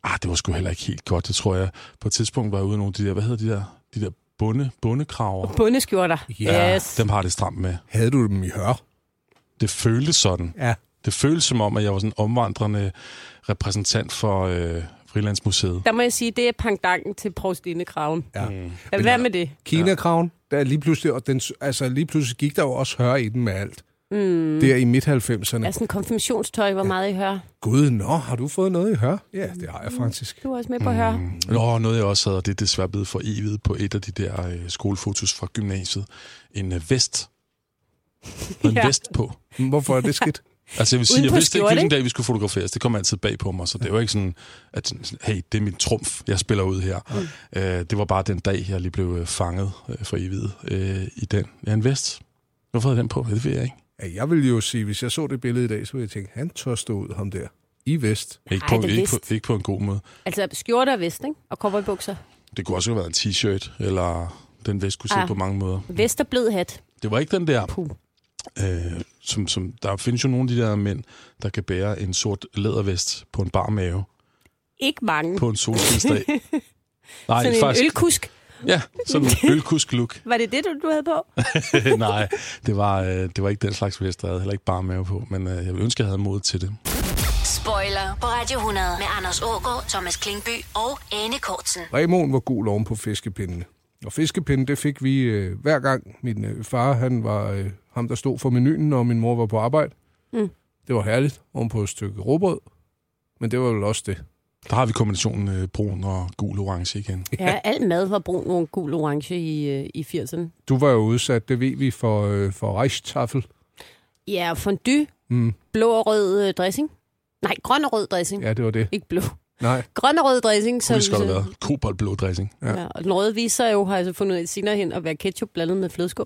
S2: Ah, det var sgu heller ikke helt godt, det tror jeg. På et tidspunkt var jeg ude i nogle af de der, hvad hedder de der, de der bunde, bundekraver.
S3: Bundeskjorter.
S4: Ja,
S3: yes.
S2: Dem har jeg det stramt med.
S4: Havde du dem i hør?
S2: Det føltes sådan.
S4: Ja.
S2: Det føltes som om, at jeg var sådan en omvandrende repræsentant for øh, Frilandsmuseet.
S3: Der må jeg sige, det er pangdangen til Provstine-kraven.
S4: Ja.
S3: Ja. Hvad med det?
S4: Kina-kraven, der er lige pludselig, og den, altså lige pludselig gik der jo også høre i den med alt. Mm. Der i midt-90'erne.
S3: Er
S4: Altså,
S3: sådan konfirmationstøj, hvor meget I hører.
S4: Gud, nå, har du fået noget i høre? Ja, det har jeg faktisk.
S3: Du er også med på at høre. Mm.
S2: Nå, noget jeg også havde, og det er desværre blevet for evigt på et af de der øh, skolefotos fra gymnasiet. En øh, vest med en
S3: Ja.
S2: vest på.
S4: Hvorfor er det (laughs) skidt?
S2: Altså jeg vil sige,
S3: Uden
S2: jeg
S3: på
S2: vidste ikke,
S3: skjorte,
S2: hvilken
S3: ikke?
S2: dag vi skulle fotograferes. Det kom altid bag på mig, så det var ikke sådan, at sådan, hey, det er min trumf, jeg spiller ud her. Mm. Øh, det var bare den dag, jeg lige blev øh, fanget øh, for evigt øh, i den. Ja, en vest. Hvorfor havde jeg den på? Ja, Det ved jeg ikke.
S4: Ja, jeg ville jo sige, hvis jeg så det billede i dag, så ville jeg tænke, han tør stå ud, ham der. I vest.
S2: Ikke,
S3: Ej,
S2: på,
S3: det
S2: ikke, på,
S3: vidste.
S2: ikke på en god måde.
S3: Altså skjorte og vest, ikke? Og cowboybukser.
S2: Det kunne også have været en t-shirt, eller den vest kunne se
S3: Ah.
S2: på mange måder.
S3: Vest og blød hat.
S2: Det var ikke den der,
S3: Puh.
S2: øh, som, som, der findes jo nogle af de der mænd, der kan bære en sort lædervest på en bar mave
S3: Ikke mange.
S2: på en
S3: (laughs)
S2: solskinsdag. Nej,
S3: Sådan en ølkusk.
S2: Ja,
S3: (laughs)
S2: sådan en ølkusk look. (laughs)
S3: Var det det, du, du havde på?
S2: Nej, det var, øh, det var ikke den slags vest, der havde heller ikke bare mave på, men øh, jeg ville ønske, jeg havde mod til det.
S1: Spoiler på Radio 100 med Anders Ågaard, Thomas Klingby og Anne Kortsen.
S4: Remoen var gul oven på fiskepindene. Og fiskepinde, det fik vi øh, hver gang. Min øh, far, han var øh, ham, der stod for menuen, og min mor var på arbejde. Mm. Det var herligt, oven på et stykke råbrød. Men det var vel også det.
S2: Der har vi kombinationen øh, brun og gul-orange igen.
S3: (laughs) Ja, al mad var brun og gul-orange i, øh, i 80'erne.
S4: Du var jo udsat, det ved vi, for, øh, for rejstaffel.
S3: Ja, fondue.
S4: Mm.
S3: Blå og rød øh, dressing. Nej, grøn og rød dressing. Ja.
S4: Ja, det var det.
S3: Ikke blå. (laughs)
S4: Nej.
S3: Grøn og rød dressing.
S2: Det kunne lige så godt have været koboldblå dressing.
S4: Ja.
S3: Ja, og den røde viser jo, har jeg så fundet ud af senere hen, at være ketchup blandet med flødeskum.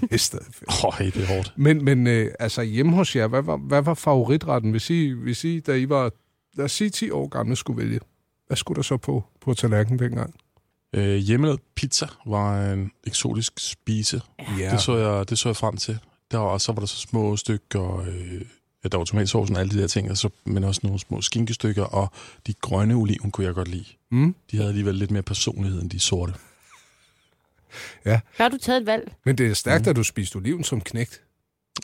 S4: Det er stadig fedt.
S2: Åh, oh, hey, det er hårdt.
S4: Men, men øh, altså hjemme hos jer, hvad var, hvad var favoritretten, hvis I, hvis I, da I var, lad os sige 10 år gamle, skulle vælge? Hvad skulle der så på, på tallerkenen dengang?
S2: Øh, hjemmelavet pizza var en eksotisk spise. Ja. Det, så jeg, det så jeg frem til. Der var, også- så var der så små stykker, øh, ja, der var tomatsovsen og alle de der ting, og så, men også nogle små skinkestykker, og de grønne oliven kunne jeg godt lide.
S4: Mm.
S2: De havde alligevel lidt mere personlighed end de sorte.
S3: Der har du taget et valg.
S4: Men det er stærkt,
S3: Mm.
S4: at du spiste oliven som knægt.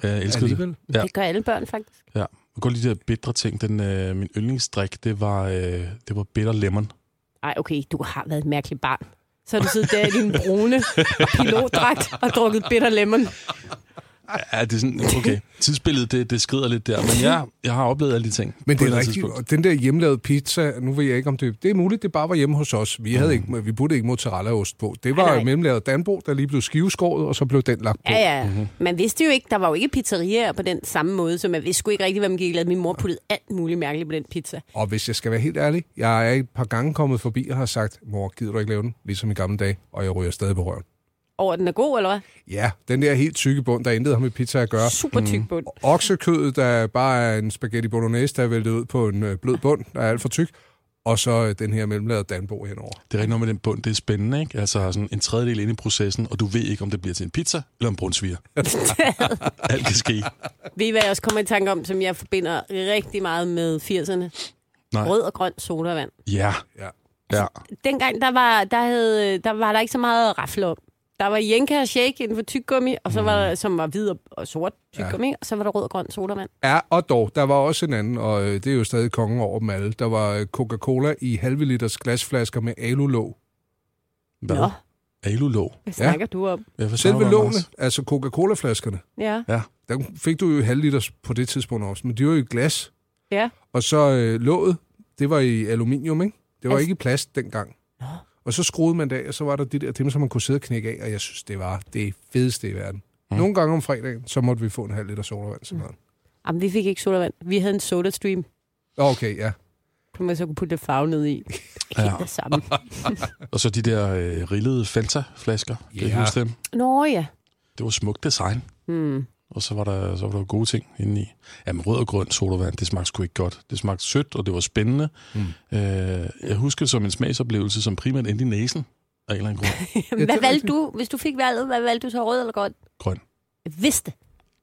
S2: Jeg elskede det.
S4: Alligevel.
S2: Ja.
S3: Ja. Det gør alle børn faktisk.
S2: Ja. Jeg kunne godt lide de der bitre ting. Den, øh, min yndlingsdrik, det var, øh, det var bitter lemon.
S3: Ej, okay, du har været et mærkeligt barn. Så har du siddet der i din brune pilotdragt og drukket bitter lemon.
S2: Ja, det er sådan, (laughs) okay. Tidsbilledet, det, det skrider lidt der. Men ja, jeg har oplevet alle de ting.
S4: Men
S2: på
S4: det
S2: et eller
S4: er
S2: andet
S4: rigtigt,
S2: tidspunkt.
S4: og den der hjemlavede pizza, nu ved jeg ikke om det, det er muligt, det bare var hjemme hos os. Vi, havde ikke, vi burde ikke mozzarellaost på. Det var
S3: Mm. Nej, nej.
S4: mellemlavet Danbo, der lige blev skiveskåret, og så blev den lagt på.
S3: Ja, ja.
S2: Mhm.
S3: Man vidste jo ikke, der var jo ikke pizzerier på den samme måde, så man vidste sgu ikke rigtigt, hvad man gik og lavede. Min mor puttede alt muligt mærkeligt på den pizza.
S4: Og hvis jeg skal være helt ærlig, jeg er et par gange kommet forbi og har sagt, mor, gider du ikke lave den? Ligesom i gamle dage, og jeg ryger stadig på røven.
S3: Over den er god, eller hvad?
S4: Ja, den der helt tykke bund, der intet har med pizza at gøre.
S3: Super
S2: Mhm.
S3: tyk bund.
S4: Oksekødet, der bare er en spaghetti bolognese, der er væltet ud på en øh, blød bund, der er alt for tyk. Og så øh, den her mellemlavet Danbo henover.
S2: Det er rigtig noget med den bund, det er spændende, ikke? Altså sådan en tredjedel inde i processen, og du ved ikke, om det bliver til en pizza eller en
S3: (laughs)
S2: brunsviger. Alt kan ske.
S3: Ved I, hvad jeg også kommer i tanke om, som jeg forbinder rigtig meget med 80'erne?
S2: Nej.
S3: Rød og grøn sodavand.
S2: Ja.
S4: Ja.
S2: Ja.
S3: Dengang, der var der, havde, der, var der ikke så meget at rafle om. Der var Jenka og Shake inden for tyggegummi, og så
S2: Mhm.
S3: var der, som var hvid og- og sort tyggegummi, ja. og så var der rød og grøn sodavand.
S4: Ja, og dog, der var også en anden, og øh, det er jo stadig kongen over dem alle. Der var øh, Coca-Cola i halve liters glasflasker med alulåg.
S2: Hvad?
S3: Nå,
S2: Alulåg.
S3: hvad snakker ja. du om?
S2: Ja, for
S4: Selve
S2: søren,
S4: lågene,
S2: Anders.
S4: altså Coca-Cola-flaskerne,
S3: Ja.
S2: Ja.
S4: der fik du jo halv liters på det tidspunkt også, men de var jo i glas.
S3: ja.
S4: Og så øh, låget, det var i aluminium, ikke? Det var
S3: Altså-
S4: ikke i plast dengang. Og så skruede man det af, og så var der de der dem, som man kunne sidde og knække af, og jeg synes, det var det fedeste i verden. Mm. Nogle gange om fredagen, så måtte vi få en halv liter sodavand
S3: Mm.
S4: til maden.
S3: Jamen, vi fik ikke sodavand. Vi havde en sodastream,
S4: Nå, Okay, ja.
S3: som man så kunne putte lidt farve ned i. Det er
S2: Ja.
S3: helt det samme.
S2: Og så de der øh, rillede Fanta-flasker. Ja. Kan I
S4: Ja.
S2: huske dem?
S3: (laughs) Nå ja.
S2: Det var smukt design.
S3: Hmm.
S2: Og så var der, så var der jo gode ting indeni. Jamen, rød og grøn sodavand, det smagte sgu ikke godt. Det smagte sødt, og det var spændende. Mm. Øh, jeg husker det som en smagsoplevelse, som primært endte i næsen af en eller anden grund.
S4: det
S3: Hvad
S4: er
S3: valgte
S4: rigtigt.
S3: du, hvis du fik valget? Hvad valgte du så, rød eller grøn?
S2: grøn.
S3: Jeg vidste.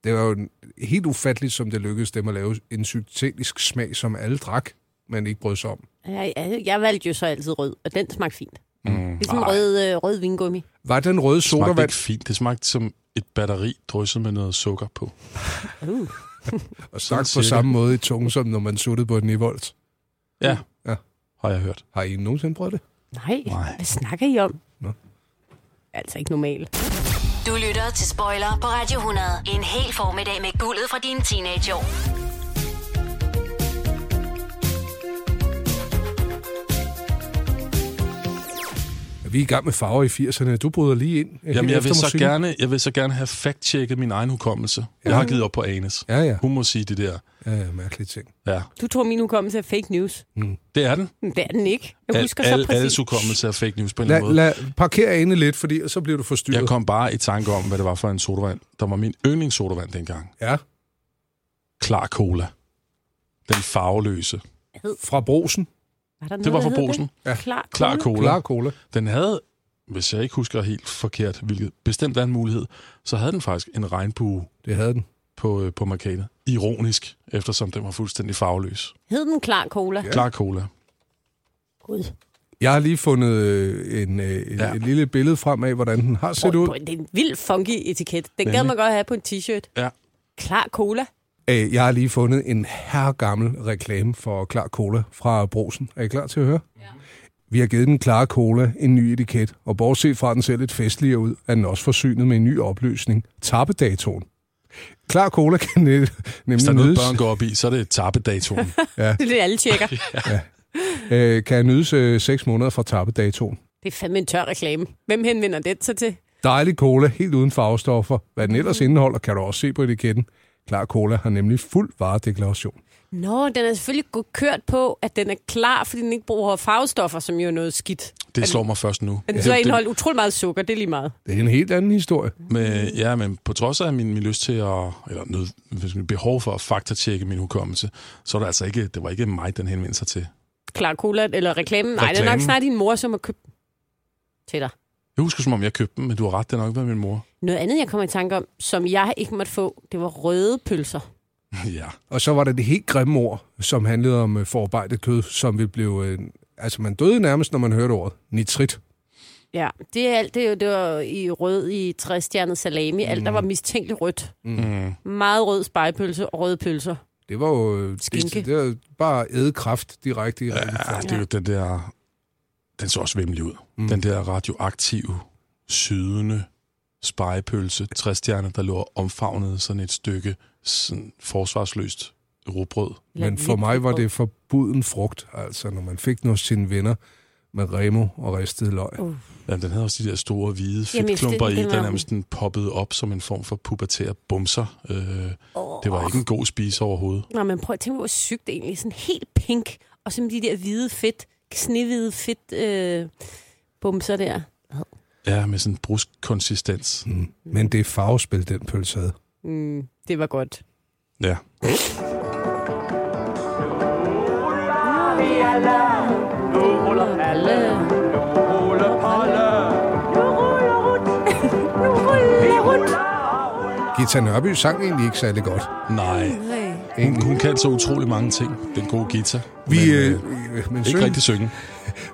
S4: Det var jo en- helt ufatteligt, som det lykkedes dem at lave en syntetisk smag, som alle drak, men ikke brød sig om.
S3: Jeg, jeg, jeg valgte jo så altid rød, og den smagte fint.
S2: Mm.
S3: (laughs) Det er sådan en rød, øh, rød vingummi.
S4: Var den røde
S2: Det smagte
S4: sodavand,
S2: ikke fint. Det smagte som et batteri drysset med noget sukker på.
S3: Uh.
S4: og sagt på
S2: cirka.
S4: samme måde i tungen, som når man suttede på et nivolt.
S2: Ja,
S4: Ja.
S2: har jeg hørt.
S4: Har I nogensinde prøvet det?
S3: Nej,
S2: Nej.
S3: hvad snakker I om?
S4: Nå.
S3: Altså ikke normalt.
S1: Du lytter til Spoiler på Radio 100. En hel formiddag med guldet fra dine teenageår.
S4: Vi er i gang med farver i 80'erne. Du bryder lige ind. øh,
S2: Jamen, jeg
S4: efter
S2: vil, så
S4: musikken.
S2: gerne, jeg vil så gerne have fact-checket min egen hukommelse. Jeg har givet op på Anes.
S4: Ja, ja.
S2: Hun må sige det der.
S4: Ja, ja, mærkelige ting.
S2: Ja,
S3: Du tror, min hukommelse er fake news.
S2: det er den.
S3: Men Det er den ikke. Jeg
S2: Al,
S3: husker
S2: al,
S3: så
S2: alles
S3: præcis.
S2: hukommelse er fake news på en eller anden
S4: Lad,
S2: måde.
S4: lad, parker inde lidt, fordi så bliver du forstyrret.
S2: Jeg kom bare i tanke om, hvad det var for en sodavand. Der var min yndlingssodavand dengang.
S4: Ja,
S2: Klar Cola. Den farveløse.
S4: fra brosen.
S3: Var der noget,
S2: Det var
S3: der
S2: fra
S3: hed
S2: Brugsen.
S4: Ja.
S3: Klar,
S2: Klar
S3: cola.
S2: Cola.
S4: Klar cola.
S2: Den havde, hvis jeg ikke husker helt forkert, hvilket bestemt er en mulighed, så havde den faktisk en regnbue
S4: Det havde den.
S2: på, øh, på markedet. Ironisk, eftersom den var fuldstændig farveløs.
S3: Hed den klar cola?
S2: Klar Cola.
S3: Gud.
S4: Jeg har lige fundet øh, en, øh, en, ja.
S2: Ja.
S4: et lille billede frem af, hvordan den har set
S3: Prøv,
S4: ud.
S3: prøv, det er en vild funky etiket. Den gad
S2: Nemlig.
S3: man godt have på en t-shirt.
S2: Ja.
S3: Klar cola.
S4: Øh, Jeg har lige fundet en herregammel reklame for Klar Cola fra Brosen. Er I klar til at høre? Ja. Vi har givet den Klar Cola en ny etiket, og bortset fra at den ser lidt festligere ud, er den også forsynet med en ny opløsning. Tappedatoen. Klar Cola kan ne-
S2: Hvis
S4: nemlig
S2: der er noget,
S4: nydes,
S2: børn går op i, så er det (laughs) tabedatoen.
S3: Det er det,
S2: (laughs)
S3: alle tjekker.
S4: øh, kan nydes øh, 6 måneder fra tappedatoen.
S3: Det er fandme en tør reklame. Hvem henvender den så til?
S4: Dejlig cola, helt uden farvestoffer. Hvad den ellers indeholder, kan du også se på etiketten. Klar Cola har nemlig fuld varedeklaration.
S3: Nå, den er selvfølgelig godt kørt på, at den er klar, fordi den ikke bruger farvestoffer, som jo er noget skidt.
S2: Det slår mig først nu.
S3: Men den så indeholdt utrolig meget sukker, det er lige meget.
S4: Det er en helt anden historie.
S2: Men, ja, men på trods af min, min lyst til at, eller nød, hvis min behov for at faktatjekke min hukommelse, så er det altså ikke, det var ikke mig, den henvendte sig til.
S3: Klar cola eller reklame. Nej, det er nok
S2: Reklamen.
S3: snart din mor, som har købt den til dig.
S2: Jeg husker, som om jeg købte den, men du har ret, det har nok været min mor. (laughs)
S3: Noget andet, jeg kommer i tanke om, som jeg ikke måtte få, det var røde pølser.
S2: ja.
S4: Og så var der det helt grimme ord, som handlede om øh, forarbejdet kød, som vi blev... Øh, altså, man døde nærmest, når man hørte ordet. Nitrit.
S3: Ja, det er alt, det, er jo- det var i rød i træstjernet salami. Alt, der var mistænkeligt rødt.
S2: Mm.
S3: Meget rød spejpølse og røde pølser.
S4: Det var jo... øh,
S3: Skinke.
S4: Det, det var bare ædekraft direkte i ja.
S2: Ja, det er jo den der... Den så også vimmelig ud.
S4: Mm.
S2: Mm. Den der radioaktive, sydende spejepølse, træstjerne, der lå og omfavnede sådan et stykke sådan forsvarsløst rugbrød.
S3: Eller
S4: Men for mig var det forbuden frugt, altså, når man fik den hos sine venner med remo og ristet løg.
S3: Uh.
S2: Ja, den havde også de der store, hvide
S3: Jamen,
S2: fedtklumper
S3: det-
S2: i,
S3: den var-
S2: der nærmest den poppede op som en form for pubertære bumser. Øh, det var ikke en god spise overhovedet.
S3: Nå, men prøv at tænke, hvor sygt det egentlig er. Sådan helt pink, og så med de der hvide fedt, snehvide fedt øh, bumser der.
S2: Ja, med sådan en brusk konsistens.
S4: Mm. Men det er farvespil, den pølse havde.
S3: Mm, det var godt.
S2: Ja.
S4: Gita Nørby sang egentlig ikke særlig godt.
S2: Nej. Hun, hun kan så utrolig mange ting. Den gode guitar.
S4: Vi,
S2: men,
S4: men,
S2: øh,
S4: øh, øh, men
S2: ikke
S4: syng.
S2: rigtig synge.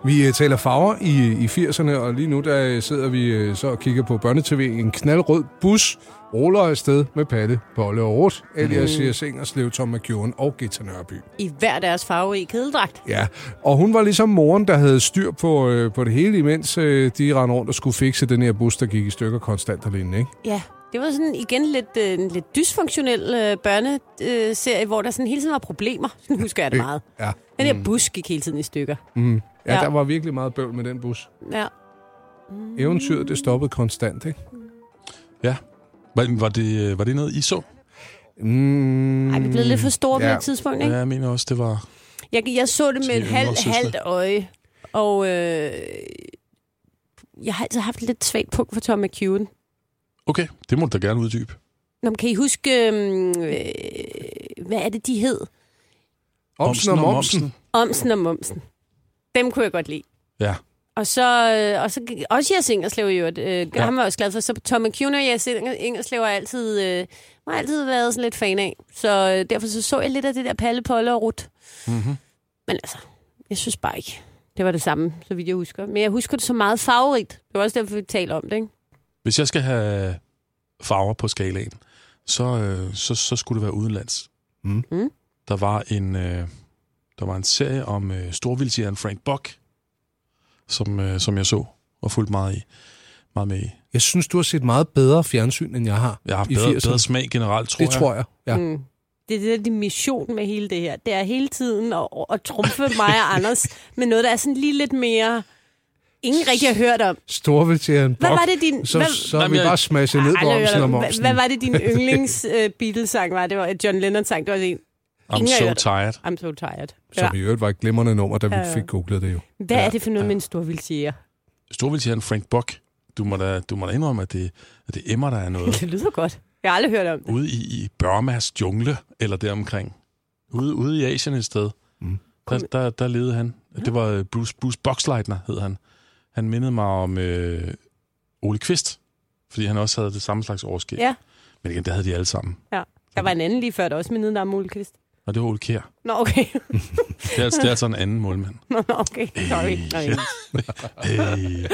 S4: Vi øh, taler farver i, øh, i 80'erne, og lige nu der øh, sidder vi øh, så og kigger på børnetv. En knaldrød bus ruller afsted med Palle, Bolle og Rut, alias mm. Sengerslev, Tom McEwen og Gita Nørby.
S3: I hver deres farve i kedeldragt.
S4: Ja, og hun var ligesom moren, der havde styr på, øh, på det hele, imens øh, de rendte rundt og skulle fikse den her bus, der gik i stykker konstant og lignende, ikke?
S3: Ja, det var sådan igen lidt, øh, en lidt dysfunktionel øh, børneserie, øh, serie, hvor der sådan hele tiden var problemer. (laughs) Nu husker jeg det meget.
S4: Ja.
S3: Den der bus gik hele tiden i stykker.
S4: Mm. Ja, ja, Mm.
S3: Ja.
S4: der var virkelig meget bøvl med den bus.
S3: Ja.
S4: Eventyret, det stoppede konstant, ikke?
S2: Ja. Var, var, det, øh, var det noget, I så?
S4: Mm.
S3: Ej, vi blev lidt for store ja.
S4: Ja.
S3: på et tidspunkt,
S2: Ja,
S3: ikke?
S2: jeg mener også, det var...
S3: Jeg, jeg så det med
S2: Til
S3: et halvt,
S2: yngre søstre.
S3: halvt øje, og øh, jeg har altid haft et lidt svagt punkt for Tom McEwen.
S2: Okay, det må du da gerne uddybe.
S3: Nå, men kan I huske, øhm, øh, hvad er det, de hed?
S4: Mm. Omsen og momsen.
S3: Omsen og Momsen. Dem kunne jeg godt lide.
S2: Ja.
S3: Og så, øh, og så gik- også Jes Ingerslev i øvrigt. Øh, ja. Ham var jeg også glad for. Så Tom McEwen og Jes Inger- Ingerslev har jeg altid, øh, har jeg altid været sådan lidt fan af. Så øh, derfor så, så jeg lidt af det der Palle, Polle og Rut.
S2: Mm-hmm.
S3: Men altså, jeg synes bare ikke, det var det samme, så vidt jeg husker. Men jeg husker det så meget farverigt. Det var også derfor, vi taler om det, ikke?
S2: Hvis jeg skal have farver på skalaen, så, øh, så, så skulle det være udenlands.
S4: Mm.
S3: Mm.
S2: Der var en, øh, der var en serie om øh, storvildtjæren Frank Buck, som, øh, som jeg så og fulgte meget i. Meget med i.
S4: Jeg synes, du har set meget bedre fjernsyn, end jeg har.
S2: Jeg har haft
S4: I
S2: bedre,
S4: 80'erne.
S2: bedre smag generelt, tror
S4: Det
S2: jeg.
S4: tror jeg, ja.
S3: Mm. Det er det, der din mission med hele det her. Det er hele tiden at, at trumfe mig og Anders med noget, der er sådan lige lidt mere ingen rigtig har hørt om.
S4: Storvildtjeren Bok.
S3: Hvad var det din...
S4: Så,
S3: hvad,
S4: så
S2: Jamen,
S4: vi
S2: jeg-
S4: bare smashe ned
S3: Ej,
S4: på
S3: aldrig hørt
S4: omsen og
S3: om. Hva-
S4: momsen.
S3: hvad var det
S4: (laughs)
S3: din yndlings uh, Beatles-sang var? Det var John Lennon-sang. Det var en,
S2: I'm
S3: Ingen har
S2: so
S3: hørt det.
S2: tired.
S3: I'm so tired. Ja.
S4: Som i øvrigt var et glimrende nummer, da vi
S3: Ja, ja.
S4: fik googlet det jo.
S3: Hvad er det for noget med en storvildtjæger?
S2: Storvildtjeren Frank Buck. Du må da, du må da indrømme, at det, at det emmer, der er noget.
S3: (laughs) Det lyder godt. Jeg har aldrig hørt om det.
S2: ude i, i Burmas jungle, eller deromkring. Ude, ude i Asien et sted.
S4: Mm.
S2: Mm. Der, der, der levede han. Det var øh, Bruce, Bruce Boxleitner, hed han. Han mindede mig om øh, Ole Kvist, fordi han også havde det samme slags årskæg.
S3: Ja.
S2: Men igen, det havde de alle sammen.
S3: Der var en anden lige før, der også mindede dig om Mulkvist.
S2: Og det var Ole Kjær.
S3: Nå, okay. (laughs)
S2: Det er, altså- det er altså en anden målmand.
S3: Nå, okay. (laughs) Sorry. Sorry.
S2: Hey.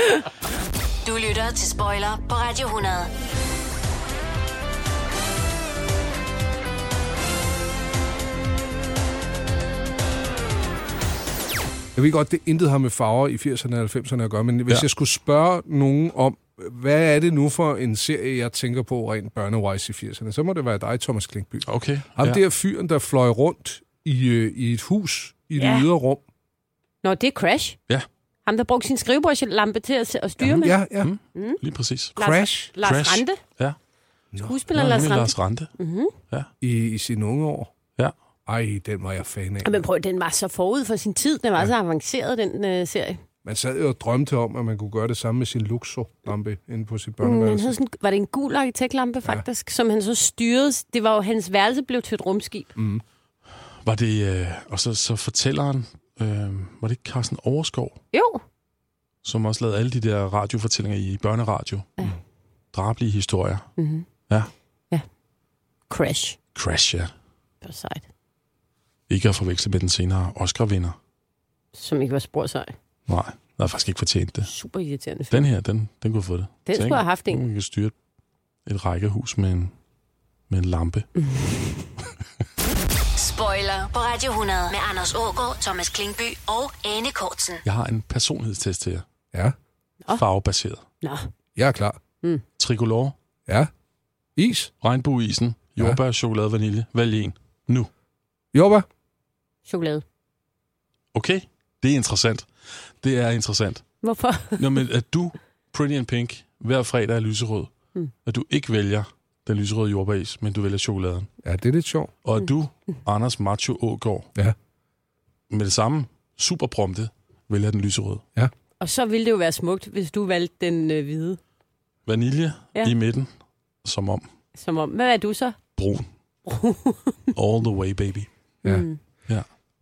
S1: Du lytter til Spoiler på Radio 100.
S4: Jeg ved godt, det intet har med farver i 80'erne og 90'erne at gøre, men hvis ja.
S2: Ja.
S4: jeg skulle spørge nogen om, hvad er det nu for en serie, jeg tænker på rent børnewise i 80'erne, så må det være dig, Thomas Klinkby.
S2: Okay.
S4: Ham ja.
S2: ja.
S4: der fyren, der fløj rundt i, øh, i et hus i det
S3: Ja.
S4: ydre rum.
S3: Nå, det er Crash.
S2: Ja.
S3: Ham, der brugte sin skrivebordslampe til at, at styre med.
S4: Ja, ja.
S2: Mm. Lige præcis.
S3: Lars-
S4: Crash.
S3: Lars
S2: Crash.
S3: Rante.
S2: Ja.
S3: Skuespiller Lars Mm.
S2: Lars
S3: Rante.
S2: Lars Rante.
S4: I, i sine unge år.
S2: Ja.
S4: Ej, den var jeg fan af.
S3: Men prøv, den var så forud for sin tid. Den var ja. så avanceret, den øh, serie.
S4: Man sad jo og drømte om, at man kunne gøre det samme med sin Luxo-lampe inde på sit
S3: Mm, han
S4: børneværelse.
S3: havde sådan, var det en gul arkitektlampe, faktisk, som han så styrede. Det var jo, hans værelse blev til et rumskib.
S4: Mm.
S2: Var det, øh, og så, så fortælleren, øh, var det ikke Carsten Overskov,
S3: Jo.
S2: som også lavede alle de der radiofortællinger i børneradio. Ja. Drablige historier.
S3: Mm-hmm.
S2: Ja.
S3: Crash.
S2: Crash, ja.
S3: Det var sejt.
S2: Ikke at forveksle med den senere Oscar-vinder.
S3: Som ikke var spor sej.
S2: Nej, der er faktisk ikke fortjent det.
S3: Super irriterende film.
S2: Den her, den, den kunne have fået det.
S3: Den skulle have haft en.
S2: Man kan styre et, et rækkehus med en, med en lampe.
S3: Mm.
S1: Spoiler på Radio 100 med Anders Ågaard, Thomas Klingby og Anne Kortsen.
S2: Jeg har en personlighedstest til jer.
S4: Ja,
S3: Nå.
S2: Farvebaseret.
S3: Nå,
S4: jeg er klar.
S2: Tricolor,
S4: Ja. Is.
S2: regnbueisen,
S4: Ja.
S2: jordbær, chokolade, vanilje. Vælg en. Nu.
S4: Jobba.
S3: chokolade.
S2: Okay? Det er interessant. Det er interessant.
S3: Hvorfor? (laughs)
S2: Nå, men at du, Pretty and Pink, hver fredag er lyserød.
S3: Mm.
S2: Mm. At du ikke vælger den lyserøde jordbæris, men du vælger chokoladen.
S4: Ja, det er lidt sjovt.
S2: Og
S3: Mm.
S2: at du, Anders Macho Ågaard,
S4: Ja.
S2: med det samme super prompte, vælger den lyserøde.
S3: Og så ville det jo være smukt, hvis du valgte den øh, hvide.
S2: Vanilje
S3: Ja.
S2: ja. i midten, som om
S3: Som om, hvad er du så? (laughs)
S2: brun. All the way, baby.
S4: Ja.
S3: Mm.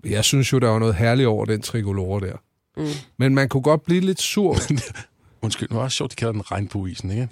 S4: Jeg synes jo, der var noget herligt over den tricolore der.
S3: Mm.
S4: Men man kunne godt blive lidt sur. (laughs)
S2: Undskyld, det var også sjovt, de kalder den regnbueisen, ikke?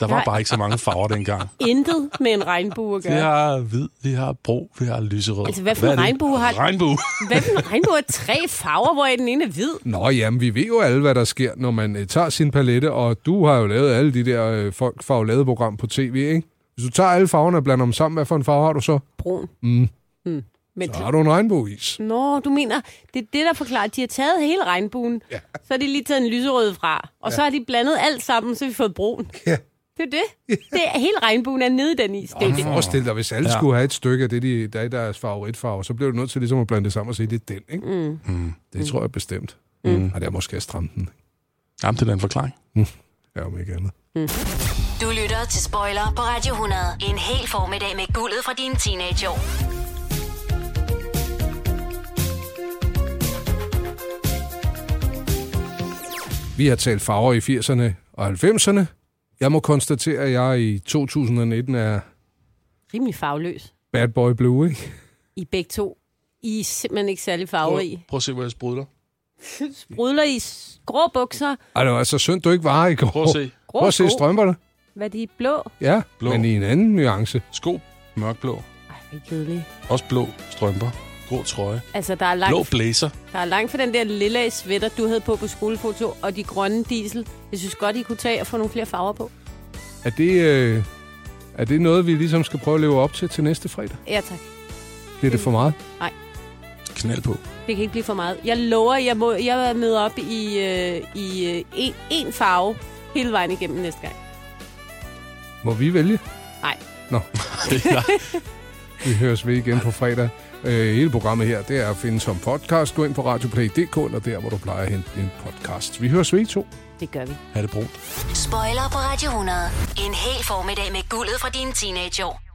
S2: Der var bare ikke så mange farver dengang.
S3: Intet med en regnbue
S4: (laughs)
S3: at
S2: Vi
S3: gøre.
S2: har hvid, vi har brun, vi har lyserød.
S3: Altså, hvad for en
S2: er det?
S3: regnbue har-
S2: Regnbue.
S3: Hvad for en regnbue er tre farver, hvor den ene er hvid?
S4: Nå, jamen, vi ved jo alle, hvad der sker, når man øh, tager sin palette, og du har jo lavet alle de der øh, folk fra lavet program på tv, ikke? Hvis du tager alle farverne og blander dem sammen, hvad for en farve har du så?
S3: Brun.
S4: Mm.
S3: Mm. Men
S4: Så har du en regnbueis.
S3: Nå, du mener, det er det, der forklarer, at de har taget hele regnbuen, ja. så har de lige taget en lyserød fra, og ja. så har de blandet alt sammen, så har vi fået brun.
S4: Ja.
S3: Det er det. det er, hele regnbuen er nede i den is. Det er det.
S4: Forestil dig, hvis alle ja.
S2: Ja.
S4: skulle have et stykke af det, de, der er deres favoritfarve, så bliver du nødt til ligesom at blande det sammen og sige, det er den, ikke?
S3: Mm.
S2: Mm.
S4: Det tror jeg bestemt.
S2: Mm.
S4: Og det er måske at stramme den,
S2: Jamen, det er da en forklaring.
S4: ja, om ikke andet.
S1: Du lytter til Spoiler på Radio 100. En hel formiddag med guldet fra dine teenageår.
S4: Vi har talt farver i 80'erne og 90'erne. Jeg må konstatere, at jeg i 2019 er
S3: Rimelig farveløs.
S4: bad boy blue, ikke?
S3: I begge to. I er simpelthen ikke særlig farverige.
S2: Prøv, prøv at se, hvor jeg sprudler.
S3: Brudler i s- grå bukser.
S4: Ej, det var altså synd, du ikke var her i går.
S2: Prøv at se.
S3: Grå
S4: Prøv at se
S3: sko.
S4: strømperne.
S3: Hvad er de blå?
S4: Ja, blå.
S2: Blå.
S4: men i en anden nuance.
S2: Sko, mørkblå.
S3: Ej, hvor er I kedelige.
S2: Også blå strømper. Grå trøje.
S3: Altså, der er langt,
S2: Blå blazer.
S3: der er langt for den der lille sweater, du havde på på skolefoto, og de grønne diesel. Jeg synes godt, I kunne tage og få nogle flere farver på.
S4: Er det, øh, er det noget, vi ligesom skal prøve at leve op til til næste fredag?
S3: Ja, tak.
S4: Bliver det for meget?
S2: Knald (laughs) på.
S3: Det kan ikke blive for meget. Jeg lover, jeg, må, jeg møder op i, øh, i øh, en, en farve hele vejen igennem næste gang.
S4: Må vi vælge?
S3: Nej.
S4: Nå,
S2: Det er,
S4: vi høres ved igen på fredag. Øh, hele programmet her, det er at finde som podcast. Gå ind på radioplay.dk, eller der, hvor du plejer at hente en podcast. Vi høres ved i to.
S3: Det gør vi.
S2: Ha' det brunt.
S1: Spoiler på Radio 100. En hel formiddag med guldet fra dine teenageår.